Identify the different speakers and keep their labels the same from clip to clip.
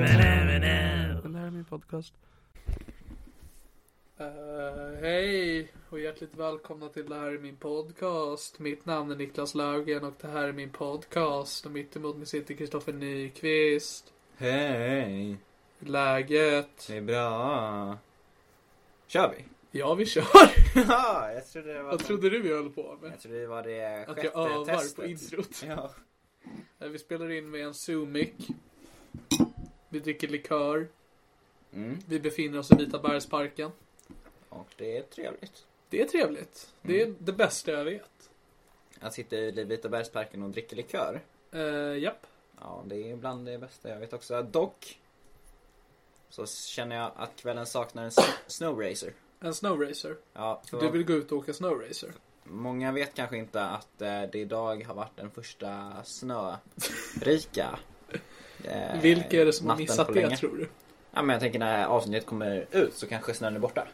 Speaker 1: Den här är min podcast.
Speaker 2: Eh, hej och hjärtligt välkomna till Det här är min podcast. Mitt namn är Niklas Löfgren och det här är min podcast. Och mitt emot mig sitter Kristoffer Nyqvist.
Speaker 1: Hej,
Speaker 2: Läget?
Speaker 1: det är bra. Kör vi?
Speaker 2: Ja, vi kör!
Speaker 1: Ja, jag trodde det var...
Speaker 2: Vad trodde du vi höll på med?
Speaker 1: Jag trodde det var det
Speaker 2: Att
Speaker 1: sjätte
Speaker 2: jag övar på
Speaker 1: testet.
Speaker 2: introt.
Speaker 1: Ja.
Speaker 2: Eh, Vi spelar in med en Zoom-mic. Vi dricker likör.
Speaker 1: Mm.
Speaker 2: Vi befinner oss i Vita bergsparken.
Speaker 1: Och det är trevligt.
Speaker 2: Det är trevligt. Det
Speaker 1: Mm.
Speaker 2: är det bästa jag vet.
Speaker 1: Att sitta i Vita bergsparken och dricka likör.
Speaker 2: Uh, japp.
Speaker 1: Ja, det är bland det bästa jag vet också. Dock. Så känner jag att kvällen saknar en sn- snowracer.
Speaker 2: En snowracer.
Speaker 1: Ja, för
Speaker 2: Du vill gå ut och åka snowracer?
Speaker 1: många vet kanske inte att eh, det idag har varit den första snörika. eh,
Speaker 2: Vilka är det som har
Speaker 1: natten på
Speaker 2: missat
Speaker 1: länge.
Speaker 2: det, tror du?
Speaker 1: Ja men jag tänker när avsnittet kommer ut så kanske snön är borta.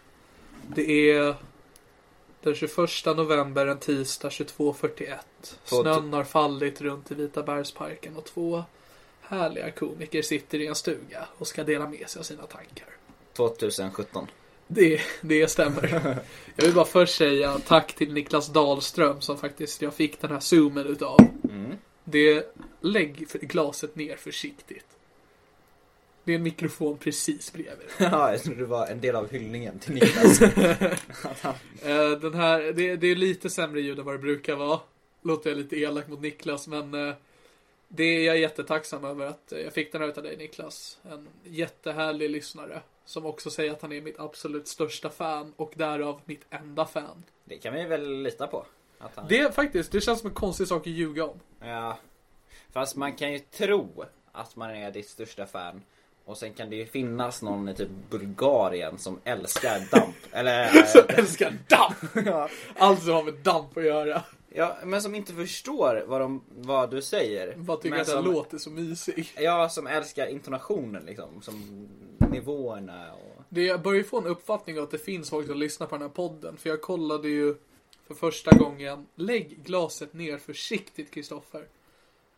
Speaker 2: Det är den 21 november, en tisdag 22.41.
Speaker 1: På t-
Speaker 2: Snön har fallit runt i Vita bergsparken och två härliga komiker sitter i en stuga och ska dela med sig av sina tankar.
Speaker 1: 2017.
Speaker 2: Det, det stämmer. Jag vill bara först säga tack till Niklas Dahlström som faktiskt jag fick den här zoomen utav.
Speaker 1: Mm.
Speaker 2: Det, lägg för- glaset ner försiktigt. Det är en mikrofon precis bredvid.
Speaker 1: ja, jag trodde det var en del av hyllningen till Niklas.
Speaker 2: Eh, Den här, det, det är lite sämre ljud än vad det brukar vara. Låter jag lite elak mot Niklas, men eh, det är jag jättetacksam över att eh, jag fick den här utav dig Niklas. En jättehärlig lyssnare som också säger att han är mitt absolut största fan och därav mitt enda fan.
Speaker 1: det kan vi väl lita på. Att han...
Speaker 2: Det är faktiskt, det känns som en konstig sak att ljuga om.
Speaker 1: Ja. Fast man kan ju tro att man är ditt största fan. Och sen kan det ju finnas någon i typ Bulgarien som älskar damp. Eller... eh,
Speaker 2: Jag älskar damp!
Speaker 1: ja.
Speaker 2: Allt som har med damp att göra.
Speaker 1: ja, men som inte förstår vad, de, vad du säger.
Speaker 2: Vad tycker
Speaker 1: men
Speaker 2: att jag
Speaker 1: som,
Speaker 2: låter så mysig.
Speaker 1: Ja, som älskar intonationen liksom. Som nivåerna och...
Speaker 2: Det, jag börjar ju få en uppfattning av att det finns folk som lyssnar på den här podden. För jag kollade ju för första gången. Lägg glaset ner försiktigt Kristoffer.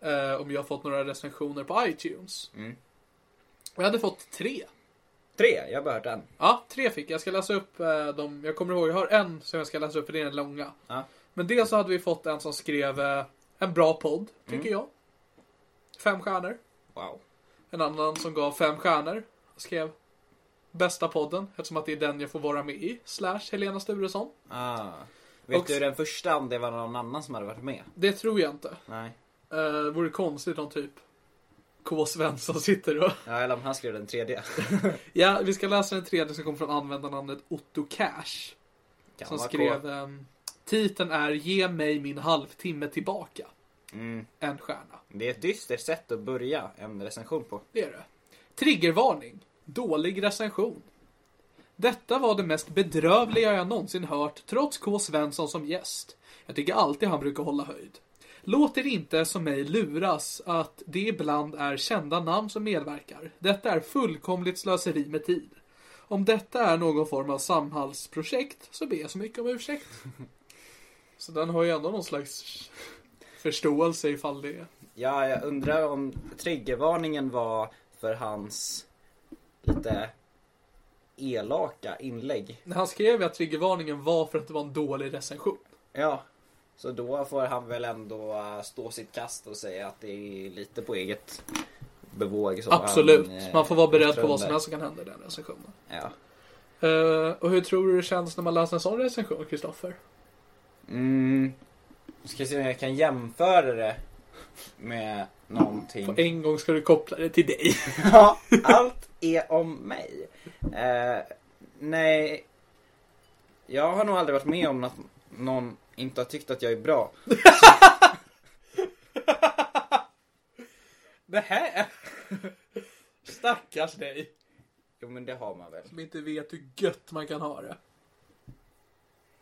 Speaker 2: Eh, om jag har fått några recensioner på iTunes. Och jag hade fått tre.
Speaker 1: Tre, jag har bara hört en.
Speaker 2: Ja, tre fick jag. Jag ska läsa upp eh, dem. Jag kommer ihåg, jag har en som jag ska läsa upp för det är den långa.
Speaker 1: Ja.
Speaker 2: Men dels så hade vi fått en som skrev eh, en bra podd, tycker jag. Fem stjärnor.
Speaker 1: Wow.
Speaker 2: En annan som gav fem stjärnor och skrev Bästa podden eftersom att det är den jag får vara med i. Slash Helena Sturesson.
Speaker 1: Ah. Vet
Speaker 2: Och-
Speaker 1: du den första om det var någon annan som hade varit med?
Speaker 2: Det tror jag inte.
Speaker 1: Nej.
Speaker 2: Uh, vore konstigt om typ K. Svensson sitter och...
Speaker 1: Ja, eller om han skrev den tredje.
Speaker 2: Ja, vi ska läsa den tredje som kom från användarnamnet Otto Cash.
Speaker 1: Kan
Speaker 2: Som
Speaker 1: vara
Speaker 2: skrev
Speaker 1: K.
Speaker 2: ehm, Titeln är Ge mig min halvtimme tillbaka. En stjärna.
Speaker 1: Det är ett dystert sätt att börja en recension på.
Speaker 2: Det är det. Triggervarning. Dålig recension. Detta var det mest bedrövliga jag någonsin hört, trots K. Svensson som gäst. Jag tycker alltid han brukar hålla höjd. Låt er inte som mig luras att det ibland är kända namn som medverkar. Detta är fullkomligt slöseri med tid. Om detta är någon form av samhällsprojekt så ber jag så mycket om ursäkt. Så den har ju ändå någon slags förståelse ifall det är.
Speaker 1: Ja, jag undrar om triggervarningen var för hans lite elaka inlägg.
Speaker 2: Han skrev ju att triggervarningen var för att det var en dålig recension.
Speaker 1: Ja. Så då får han väl ändå eh, stå sitt kast och säga att det är lite på eget bevåg. som
Speaker 2: Absolut.
Speaker 1: han, eh,
Speaker 2: Man får vara beredd på vad
Speaker 1: yttrande.
Speaker 2: som helst som kan hända i den recensionen.
Speaker 1: Ja.
Speaker 2: Eh, och hur tror du det känns när man läser en sån recension, Kristoffer?
Speaker 1: Mm. Ska se om jag kan jämföra det med någonting.
Speaker 2: På en gång ska du koppla det till dig.
Speaker 1: Ja, allt är om mig. Eh, nej, jag har nog aldrig varit med om att någon inte har tyckt att jag är bra.
Speaker 2: Det här. Stackars dig.
Speaker 1: Jo, men det har man väl.
Speaker 2: Som inte vet hur gött man kan ha det.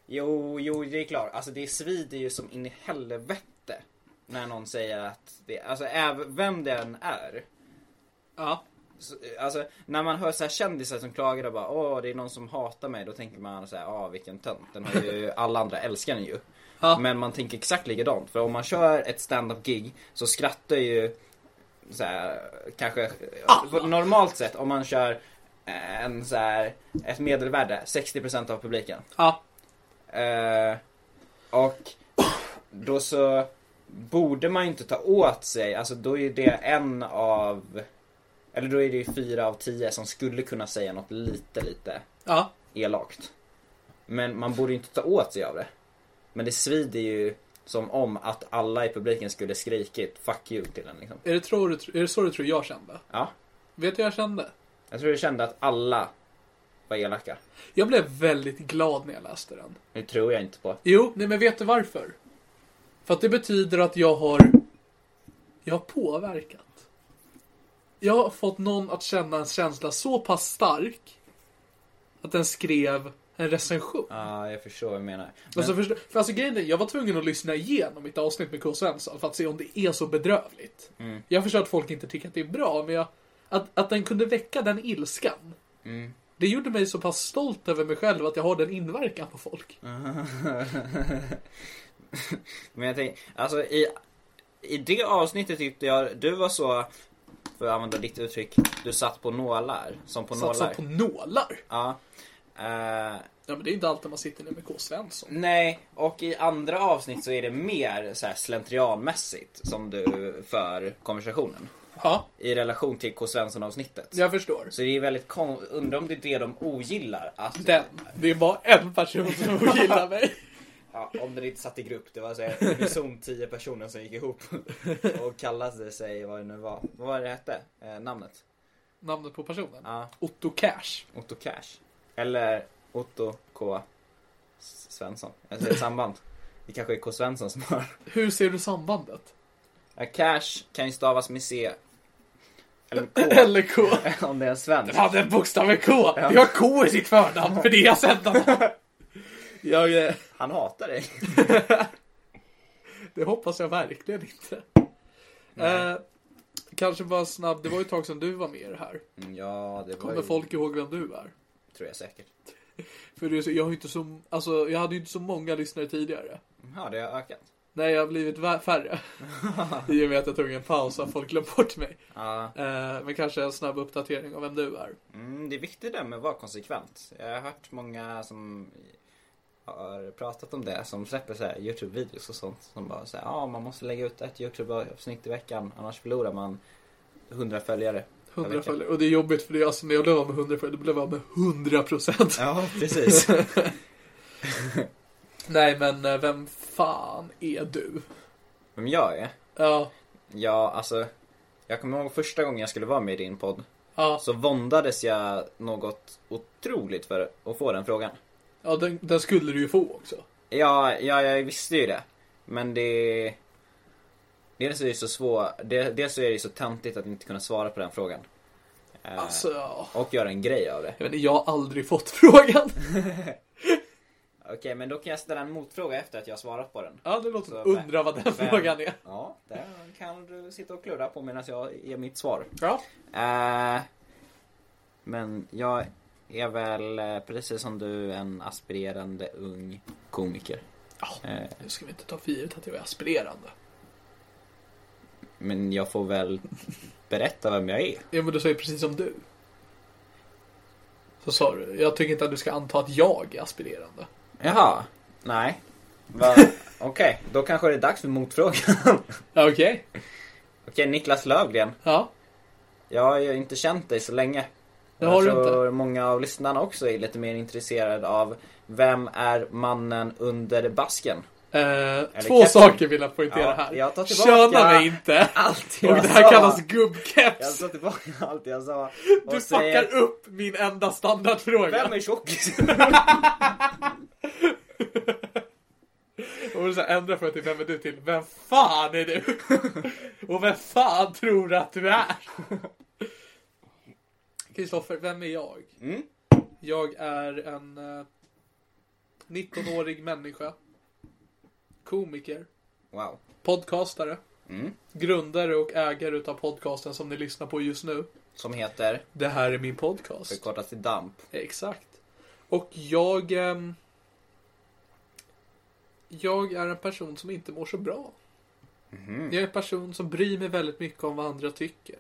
Speaker 1: Jo, jo, det är klart. Alltså det svider ju som in i helvete. När någon säger att det, alltså även vem den är.
Speaker 2: Ja.
Speaker 1: Så, eh, Alltså när man hör så här kändisar som klagar och bara åh det är någon som hatar mig. Då tänker man så här, ah vilken tönt. Den har ju, alla andra älskar den ju.
Speaker 2: Ja.
Speaker 1: Men man tänker exakt likadant. För om man kör ett stand-up gig så skrattar ju så här, kanske på normalt sett om man kör eh, en så här, ett medelvärde 60% av publiken.
Speaker 2: Ja.
Speaker 1: Eh, och då så borde man ju inte ta åt sig, alltså då är det en av, eller då är det ju fyra av tio som skulle kunna säga något lite, lite
Speaker 2: Ja.
Speaker 1: elakt. Men man borde ju inte ta åt sig av det. Men det svider ju som om att alla i publiken skulle skrikit 'fuck you' till en liksom.
Speaker 2: Är det, tror, du- är det så du tror jag kände?
Speaker 1: Ja.
Speaker 2: Vet du hur jag kände?
Speaker 1: Jag tror jag kände att alla var elaka.
Speaker 2: Jag blev väldigt glad när jag läste den.
Speaker 1: Nu tror jag inte på.
Speaker 2: Jo, nej men vet du varför? För att det betyder att jag har... Jag har påverkat. Jag har fått någon att känna en känsla så pass stark att den skrev en recension.
Speaker 1: Ja, jag förstår vad du menar. Men,
Speaker 2: Alltså, förstå, för alltså grejen är, jag var tvungen att lyssna igenom mitt avsnitt med K. Svensson för att se om det är så bedrövligt.
Speaker 1: Mm.
Speaker 2: Jag förstår att folk inte tycker att det är bra, men jag, att, att den kunde väcka den ilskan.
Speaker 1: Mm.
Speaker 2: Det gjorde mig så pass stolt över mig själv att jag har den inverkan på folk.
Speaker 1: Mm. men jag tänker, alltså i, i det avsnittet tyckte jag, du var så, för att använda ditt uttryck, du satt på nålar. Som på
Speaker 2: Satsa
Speaker 1: nålar.
Speaker 2: på nålar.
Speaker 1: Ja. Eh,
Speaker 2: Ja, men det är inte alltid man sitter ner med K. Svensson.
Speaker 1: Nej, och i andra avsnitt så är det mer så här slentrianmässigt som du för konversationen.
Speaker 2: Ja,
Speaker 1: I relation till K. Svensson avsnittet.
Speaker 2: jag förstår.
Speaker 1: Så det är väldigt kon- undrar om det är det de ogillar. Att,
Speaker 2: Den. Det är bara en person som ogillar mig.
Speaker 1: ja, om det inte satt i grupp, det var så här unisont tio personer som gick ihop. Och kallade sig vad det nu var. Vad var det hette? Eh, namnet?
Speaker 2: Namnet på personen?
Speaker 1: Ja.
Speaker 2: Otto Cash.
Speaker 1: Otto Cash. Eller Otto K. S- Svensson. Jag säger samband. Det kanske är K. Svensson som har
Speaker 2: Hur ser du sambandet?
Speaker 1: Ja, Cash kan ju stavas med C. Eller med K.
Speaker 2: Eller K.
Speaker 1: Om det är en svensk.
Speaker 2: Fan, den bokstaven K. Det har K i sitt förnamn, för det är jag sändarna. Jag, eh,
Speaker 1: Han hatar dig.
Speaker 2: det hoppas jag verkligen inte. Eh, kanske bara snabb, det var ju ett tag sedan du var med i det här.
Speaker 1: Mm, Ja, det var
Speaker 2: Kommer
Speaker 1: ju,
Speaker 2: folk ihåg vem du är?
Speaker 1: tror jag säkert.
Speaker 2: För det är så, jag, har ju inte så, alltså, jag hade ju inte så många lyssnare tidigare.
Speaker 1: Ja, det har ökat.
Speaker 2: Nej, jag har blivit vä- färre. I och med att jag tog en paus har folk glömt bort mig.
Speaker 1: Ja.
Speaker 2: Eh, men kanske en snabb uppdatering av vem du är.
Speaker 1: Mm, det är viktigt det med att vara konsekvent. Jag har hört många som har pratat om det, som släpper så här Youtube-videos och sånt. Som bara säger ja man måste lägga ut ett Youtube-avsnitt i veckan, annars förlorar man 100 följare. per
Speaker 2: 100
Speaker 1: vecka."
Speaker 2: följare. Och det är jobbigt för det är alltså när jag blev av med 100 följare, då blev jag av med 100 procent.
Speaker 1: Ja, precis.
Speaker 2: Nej men eh, vem fan är du?
Speaker 1: Vem jag är?
Speaker 2: Ja,
Speaker 1: Ja, alltså. Jag kommer ihåg första gången jag skulle vara med i din podd.
Speaker 2: ja,
Speaker 1: så våndades jag något otroligt för att få den frågan.
Speaker 2: ja den, den skulle du ju få också.
Speaker 1: Ja, ja, jag visste ju det. Men det... Dels är det så svårt, dels så är det så töntigt att inte kunna svara på den frågan. Eh,
Speaker 2: Alltså, ja.
Speaker 1: Och göra en grej av det.
Speaker 2: Jag, vet, inte, jag har aldrig fått frågan.
Speaker 1: Okej, men då kan jag ställa en motfråga efter att jag har svarat på den.
Speaker 2: Jag har aldrig låtit
Speaker 1: Så,
Speaker 2: undra vad den
Speaker 1: vem-
Speaker 2: frågan är.
Speaker 1: Ja, där kan du sitta och klura på medan jag ger mitt svar.
Speaker 2: Ja.
Speaker 1: Eh, men jag är väl eh, precis som du en aspirerande ung komiker. Eh,
Speaker 2: Nu ska vi inte ta för givet att jag är aspirerande.
Speaker 1: men jag får väl berätta vem jag är.
Speaker 2: Ja, men du sa ju precis som du. Så sa du, jag tycker inte att du ska anta att jag är aspirerande.
Speaker 1: Jaha, nej. Va? Okej, då kanske det är dags för motfrågan.
Speaker 2: Ja, Okej.
Speaker 1: Okej, Niklas Lövgren.
Speaker 2: Ja.
Speaker 1: Jag har ju inte känt dig så länge.
Speaker 2: Det har du
Speaker 1: jag
Speaker 2: inte.
Speaker 1: tror många av lyssnarna också är lite mer intresserade av vem är mannen under basken?
Speaker 2: Eh, två
Speaker 1: keps?
Speaker 2: saker vill jag poängtera
Speaker 1: Ja,
Speaker 2: här.
Speaker 1: jag tar tillbaka
Speaker 2: Köna mig inte.
Speaker 1: Allt
Speaker 2: Och
Speaker 1: jag
Speaker 2: det här
Speaker 1: sa.
Speaker 2: kallas gubbkeps.
Speaker 1: Jag tar tillbaka allt jag sa. och
Speaker 2: du
Speaker 1: säger,
Speaker 2: fuckar upp min enda standardfråga.
Speaker 1: Vem är tjockis?
Speaker 2: Och vill så här ändra från till vem är du till Vem fan är du? Och vem fan tror du att du är? Kristoffer, vem är jag? Jag är en eh, 19-årig människa. Komiker.
Speaker 1: Wow.
Speaker 2: Podcastare. Grundare och ägare utav podcasten som ni lyssnar på just nu.
Speaker 1: Som heter
Speaker 2: Det här är min podcast.
Speaker 1: förkortat till DAMP.
Speaker 2: Exakt. Och jag... ehm, jag är en person som inte mår så bra. Jag är en person som bryr mig väldigt mycket om vad andra tycker.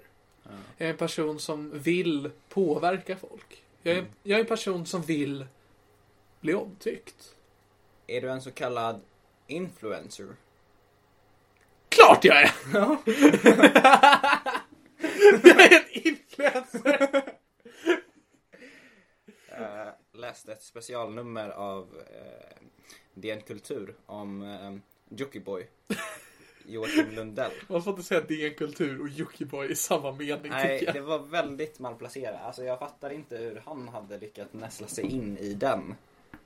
Speaker 2: Jag är en person som vill påverka folk. Jag är, jag är en person som vill bli omtyckt.
Speaker 1: Är du en så kallad influencer?
Speaker 2: Klart jag är! jag är en influencer!
Speaker 1: Läste ett specialnummer av eh, DN Kultur om eh, Jockiboi. Joakim Lundell.
Speaker 2: Man får inte säga DN Kultur och Jockiboi i samma mening
Speaker 1: Nej,
Speaker 2: tycker
Speaker 1: det
Speaker 2: jag.
Speaker 1: var väldigt malplacerat. Alltså jag fattar inte hur han hade lyckats näsla sig in i den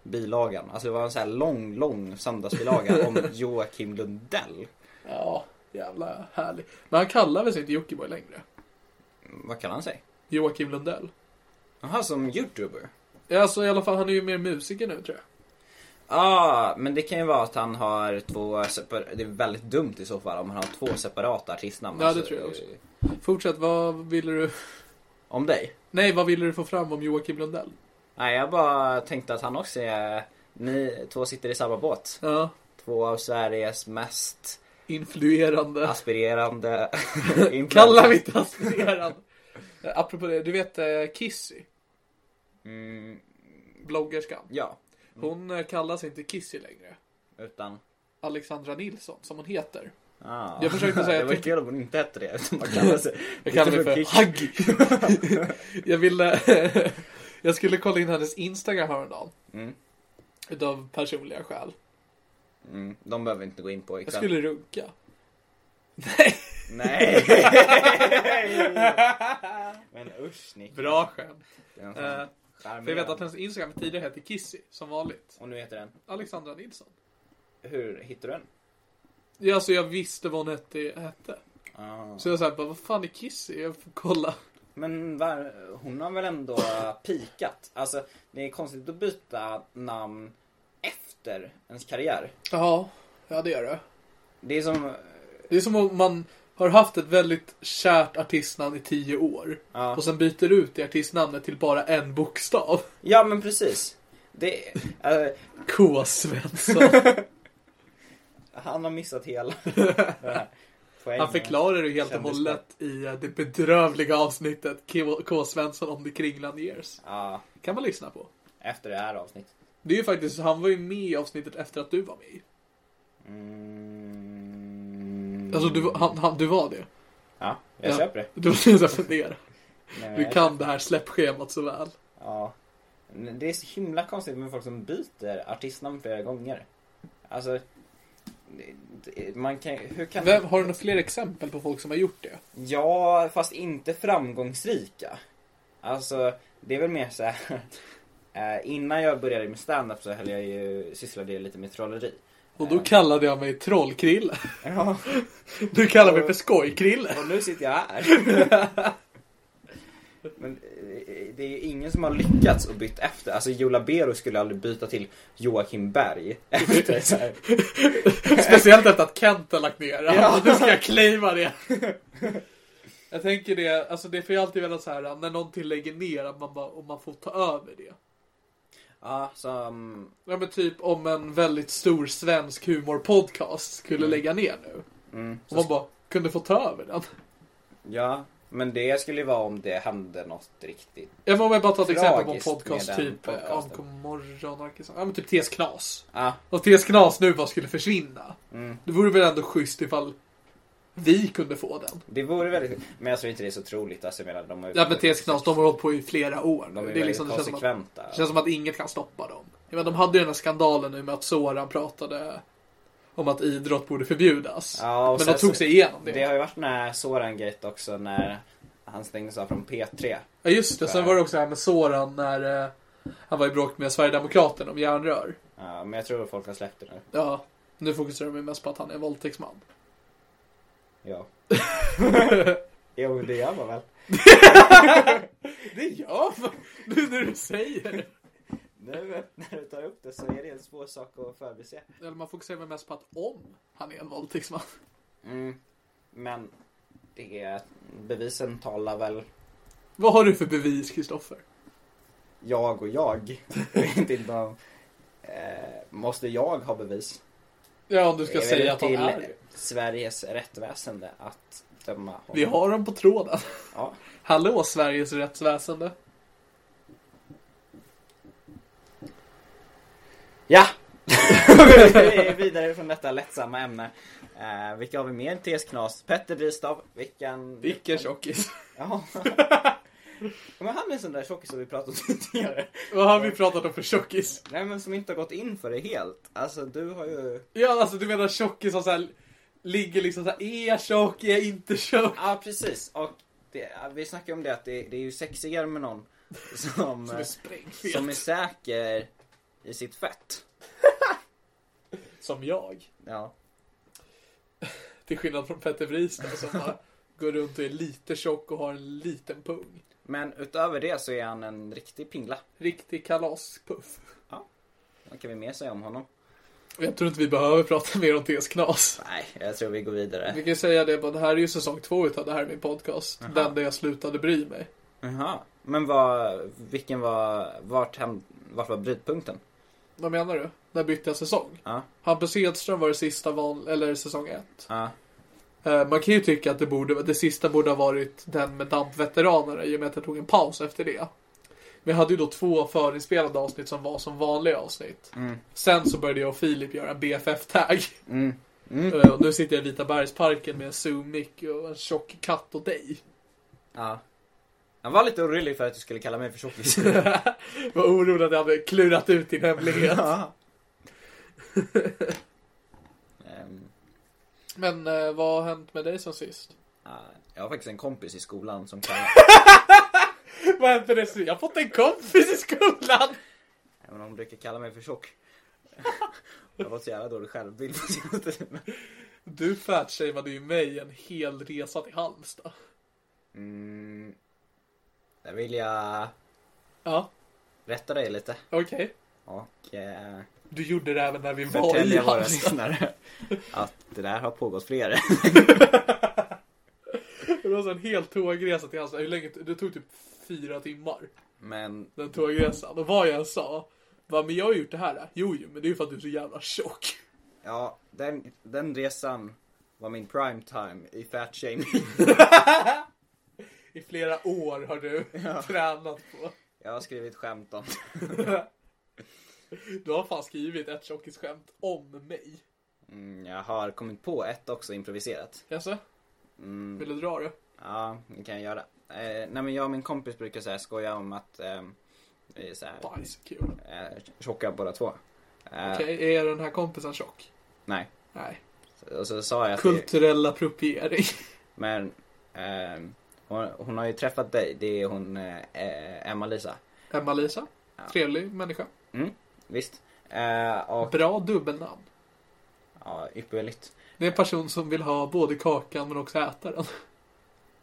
Speaker 1: bilagan. Alltså det var en sån här lång, lång söndagsbilaga om Joakim Lundell.
Speaker 2: Ja, jävla härlig. Men han kallar väl sig inte Jockiboi längre?
Speaker 1: Vad kan han säga?
Speaker 2: Joakim Lundell.
Speaker 1: Jaha, som youtuber?
Speaker 2: Ja, Alltså i alla fall, han är ju mer musiker nu tror jag.
Speaker 1: Ja, ah, men det kan ju vara att han har två separ- Det är väldigt dumt i så fall om han har två separata artistnamn. Alltså, eh,
Speaker 2: Ja, det tror jag också. Fortsätt, vad ville du...
Speaker 1: Om dig?
Speaker 2: Nej, vad ville du få fram om Joakim Lundell?
Speaker 1: Nej, jag bara tänkte att han också är... Ni två sitter i samma båt.
Speaker 2: Ja,
Speaker 1: Två av Sveriges mest
Speaker 2: influerande.
Speaker 1: Alltså, aspirerande... influencers.
Speaker 2: Kallar vi inte aspirerad. Eh, Apropå det, du vet eh, Kissy? Bloggerskan.
Speaker 1: Ja,
Speaker 2: Hon eh, kallas inte Kissy längre.
Speaker 1: utan...
Speaker 2: Alexandra Nilsson, som hon heter.
Speaker 1: Ah.
Speaker 2: Jag försökte säga- typ-
Speaker 1: det var kul om hon inte hette det. utan Man kallar sig... Typ
Speaker 2: Jag kallar mig för
Speaker 1: Kick.
Speaker 2: Haggy. jag ville... jag skulle kolla in hennes Instagram häromdagen. Utav personliga skäl.
Speaker 1: De behöver vi inte gå in på
Speaker 2: Jag
Speaker 1: ikväll.
Speaker 2: skulle runka.
Speaker 1: Nej! men usch Nick.
Speaker 2: Bra skämt.
Speaker 1: Det är en sån
Speaker 2: Eh,
Speaker 1: charmerande-
Speaker 2: för jag vet att hennes Instagram tidigare hette Kissy, som vanligt.
Speaker 1: Och nu heter den?
Speaker 2: Alexandra Nilsson.
Speaker 1: Hur hittar du den?
Speaker 2: Ja, alltså jag visste vad hon hette. hette. Så jag sa bara, vad fan är Kissy? Jag får kolla.
Speaker 1: Men var, hon har väl ändå pikat? Alltså, det är konstigt att byta namn efter ens karriär.
Speaker 2: Ja, ja det gör det.
Speaker 1: Det är som...
Speaker 2: Det är som om man har haft ett väldigt kärt artistnamn i tio år. Och sen byter ut det artistnamnet till bara en bokstav.
Speaker 1: Ja, men precis. Det, eh,
Speaker 2: K. Svensson.
Speaker 1: han har missat hela
Speaker 2: Han förklarar det helt och hållet i eh, det bedrövliga avsnittet K. K. Svensson om det kringlan years.
Speaker 1: Ja,
Speaker 2: Kan man lyssna på.
Speaker 1: efter det här avsnittet.
Speaker 2: Det är ju faktiskt, han var ju med i avsnittet efter att du var med.
Speaker 1: Mm,
Speaker 2: Alltså du, han, han, du var det.
Speaker 1: ja, jag
Speaker 2: Ja.
Speaker 1: köper det.
Speaker 2: Du måste jag fundera.
Speaker 1: Nej, men
Speaker 2: Du
Speaker 1: jag-
Speaker 2: kan det här släppschemat så väl.
Speaker 1: Ja. Men Det är så himla konstigt med folk som byter artistnamn flera gånger. Alltså... det- det- Man kan, hur kan...
Speaker 2: Vem, har du några fler exempel på folk som har gjort det?
Speaker 1: Ja, fast inte framgångsrika. Alltså, det är väl mer så här. Eh, innan jag började med stand-up så höll jag ju, sysslade jag lite med trolleri.
Speaker 2: Och då kallade jag mig Trollkrille.
Speaker 1: Ja.
Speaker 2: Du kallar mig för Skojkrille.
Speaker 1: Och nu sitter jag här. Men eh, det är ju ingen som har lyckats och bytt efter. Alltså Jola Bero skulle aldrig byta till Joakim Berg. Efter så här.
Speaker 2: Speciellt efter att Kent har lagt ner det.
Speaker 1: Ja.
Speaker 2: Och Nu ska jag claima det. Jag tänker det, alltså det får ju alltid vara så här när någonting lägger ner att man bara, om man får ta över det.
Speaker 1: Ja, mm, som...
Speaker 2: Ja men typ om en väldigt stor svensk humorpodcast skulle
Speaker 1: Mm.
Speaker 2: lägga ner nu. Och man bara, kunde få ta över den.
Speaker 1: Ja. Men det skulle ju vara om det hände något riktigt.
Speaker 2: Ja men om jag bara tar ett exempel på en
Speaker 1: Tragiskt med
Speaker 2: podcast
Speaker 1: den
Speaker 2: typ eh,
Speaker 1: podcasten.
Speaker 2: Omkomorgon, Arkisson. ja men typ TS Knas.
Speaker 1: Ja. Mm.
Speaker 2: Och TS Knas nu bara skulle försvinna. Det vore väl ändå schysst ifall vi kunde få den.
Speaker 1: Det vore väldigt... Men jag tror inte det är så troligt. Alltså jag menar de har ju...
Speaker 2: Ja men TS Knas, de har hållit på i flera år.
Speaker 1: De är
Speaker 2: det, är
Speaker 1: väldigt
Speaker 2: liksom, det, känns som att,
Speaker 1: konsekventa.
Speaker 2: det känns som att inget kan stoppa dem. Jag menar, de hade ju den här skandalen nu med att Soran pratade om att idrott borde förbjudas.
Speaker 1: Ja, och
Speaker 2: men
Speaker 1: sen
Speaker 2: de tog
Speaker 1: så-
Speaker 2: sig igenom det.
Speaker 1: Det har ju varit den här Soran-gate också när han stängdes av från P3.
Speaker 2: Ja just det, sen var det också det här med Soran när eh, han var i bråk med Sverigedemokraterna om järnrör.
Speaker 1: Ja, men jag tror att folk har släppt det nu.
Speaker 2: Ja, nu fokuserar de ju mest på att han är en våldtäktsman.
Speaker 1: Ja. jo, men det gör man väl?
Speaker 2: Det gör man! Nu när du säger det.
Speaker 1: Nu när du tar upp det så är det en svår sak att förbise.
Speaker 2: Eller man fokuserar väl mest på att om han är en våldtäktsman.
Speaker 1: Mm. Men det är, bevisen talar väl
Speaker 2: Vad har du för bevis Kristoffer?
Speaker 1: jag och jag. Jag vet inte om, eh, måste jag ha bevis?
Speaker 2: Ja, om du ska
Speaker 1: Det är väl
Speaker 2: säga att han
Speaker 1: till
Speaker 2: är
Speaker 1: Sveriges rättväsende att döma honom.
Speaker 2: Vi har honom på tråden.
Speaker 1: Ja.
Speaker 2: Hallå Sveriges rättsväsende.
Speaker 1: Ja! vi är vidare från detta lättsamma ämne. Eh, vilka har vi mer? T.S. Knas. Petter Bristav. Vilken...
Speaker 2: Vilken tjockis.
Speaker 1: Ja. Men han är en sån där tjockis som vi pratat om tidigare.
Speaker 2: Vad har vi pratat om för tjockis?
Speaker 1: Nej men som inte har gått in för det helt. Alltså du har ju...
Speaker 2: Ja, alltså du menar tjockis som såhär ligger liksom såhär, är jag tjock, är jag inte tjock?
Speaker 1: Ja precis. Och det, vi snackade om det att det, det är ju sexigare med någon som,
Speaker 2: Som är
Speaker 1: eh,
Speaker 2: sprängfet.
Speaker 1: som är säker i sitt fett.
Speaker 2: Som jag.
Speaker 1: Ja.
Speaker 2: Till skillnad från Petter Vristad som bara går runt och är lite tjock och har en liten pung.
Speaker 1: Men utöver det så är han en riktig pingla.
Speaker 2: Riktig kalaspuff.
Speaker 1: Vad kan vi mer säga om honom?
Speaker 2: Jag tror inte vi behöver prata mer om TS Knas.
Speaker 1: Nej, jag tror vi går
Speaker 2: Vi
Speaker 1: vidare.
Speaker 2: kan ju säga det, bara, det här är ju säsong två utav det här är min podcast. Den där jag slutade bry mig.
Speaker 1: Jaha. Men vad, vilken var, vart, hem, vart var brytpunkten?
Speaker 2: Vad menar du? När bytte jag säsong?
Speaker 1: Ja.
Speaker 2: Hampus Hedström var det sista val, eller säsong ett.
Speaker 1: Ja.
Speaker 2: Eh, Man kan ju tycka att det, borde, det sista borde ha varit den med DAMP-veteranerna i och med att jag tog en paus efter det. Men jag hade ju då två förinspelade avsnitt som var som vanliga avsnitt.
Speaker 1: Mm.
Speaker 2: Sen så började jag och Filip göra en BFF-tag.
Speaker 1: Mm.
Speaker 2: Eh, Och nu sitter jag i Vita bergsparken med en Zoom-mick och en tjock katt och dig.
Speaker 1: Ja. Jag var lite orolig för att du skulle kalla mig för tjockis.
Speaker 2: Var orolig att jag hade klurat ut din hemlighet.
Speaker 1: Ehm,
Speaker 2: Men eh, vad har hänt med dig sen sist?
Speaker 1: ja, jag har faktiskt en kompis i skolan som kallar
Speaker 2: Vad har hänt med dig sen sist? Jag har fått en kompis i skolan!
Speaker 1: Även om de brukar kalla mig för tjock. Jag har fått så jävla dålig självbild på senaste tiden.
Speaker 2: Du fatshameade ju mig en hel resa till Halmstad.
Speaker 1: Mm, där vill jag
Speaker 2: Ja,
Speaker 1: rätta dig lite.
Speaker 2: okej.
Speaker 1: Och eh,
Speaker 2: Du gjorde det även när vi var i
Speaker 1: förtälja våra
Speaker 2: Halmstad.
Speaker 1: lyssnare att det där har pågått flera.
Speaker 2: Det var alltså en hel tågresa till Halmstad. Hur länge? Det tog typ fyra timmar.
Speaker 1: Men
Speaker 2: Den tågresan. Och vad jag än sa. Bara, men jag har gjort det här. Jo, jo, men det är ju för att du är så jävla tjock.
Speaker 1: ja, den, den resan var min prime time i fat shaming.
Speaker 2: I flera år har du tränat på.
Speaker 1: Jag har skrivit skämt om det.
Speaker 2: Du har fan skrivit ett tjockisskämt om mig.
Speaker 1: Mm, Jag har kommit på ett också improviserat.
Speaker 2: Jaså? Vill du dra det?
Speaker 1: Ja, det kan jag göra. Eh, nej men jag och min kompis brukar så här skoja om att ehm, vi är så här,
Speaker 2: Bajs, kul.
Speaker 1: eh, tjocka båda två. Eh,
Speaker 2: Okej, är den här kompisen tjock?
Speaker 1: Nej.
Speaker 2: Nej.
Speaker 1: Och så sa jag att det,
Speaker 2: Kulturell appropriering.
Speaker 1: Men ehm, hon, hon har ju träffat dig, det är hon eh, Emma-Lisa.
Speaker 2: Emma-Lisa? Trevlig människa.
Speaker 1: Visst. Eh, och
Speaker 2: Bra dubbelnamn.
Speaker 1: ja, ypperligt.
Speaker 2: Det är en person som vill ha både kakan men också äta den.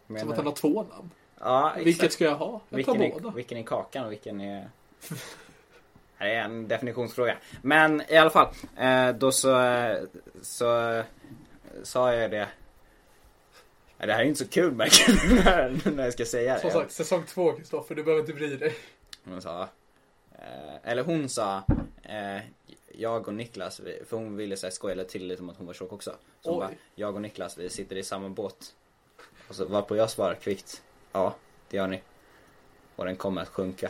Speaker 1: Men,
Speaker 2: Som att han har två namn.
Speaker 1: ja, exakt.
Speaker 2: Vilket ska jag ha? Jag tar
Speaker 1: vilken,
Speaker 2: båda.
Speaker 1: är, vilken är kakan och vilken är... Det är en definitionsfråga. Men i alla fall. eh, Då så, eh, så eh, sa jag det. Ja, Det här är inte så kul märker jag, när- när jag ska säga det.
Speaker 2: Som sagt, säsong två Kristoffer, du behöver inte bry dig.
Speaker 1: Hon sa, eh, eller hon sa, eh, jag och Niklas, vi- för hon ville säga skoja till lite om att hon var tjock också. Så hon
Speaker 2: Oj.
Speaker 1: bara, jag och Niklas vi sitter i samma båt. Och så varpå jag svarar kvickt, ja det gör ni. Och den kommer att sjunka.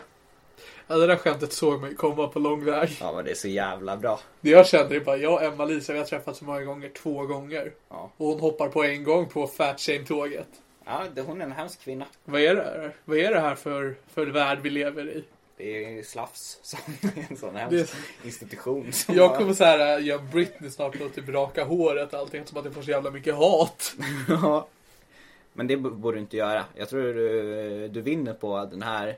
Speaker 2: Ja, det där skämtet såg mig komma på lång väg.
Speaker 1: Ja men det är så jävla bra.
Speaker 2: Det jag kände är bara, jag och Emma-Lisa vi har träffats så många gånger, två gånger.
Speaker 1: Ja.
Speaker 2: Och hon hoppar på en gång på fat tåget
Speaker 1: Ja, det, hon är en hemsk kvinna.
Speaker 2: Vad är det här? Vad är det här för, för värld vi lever i?
Speaker 1: Det är ju slafs som är en sån hemsk
Speaker 2: Det-
Speaker 1: institution. Som
Speaker 2: Jag kommer så här, jag Britney snart och typ raka håret och allting som att jag får så jävla mycket hat.
Speaker 1: Ja. Men det b- borde du inte göra. Jag tror du, du vinner på den här.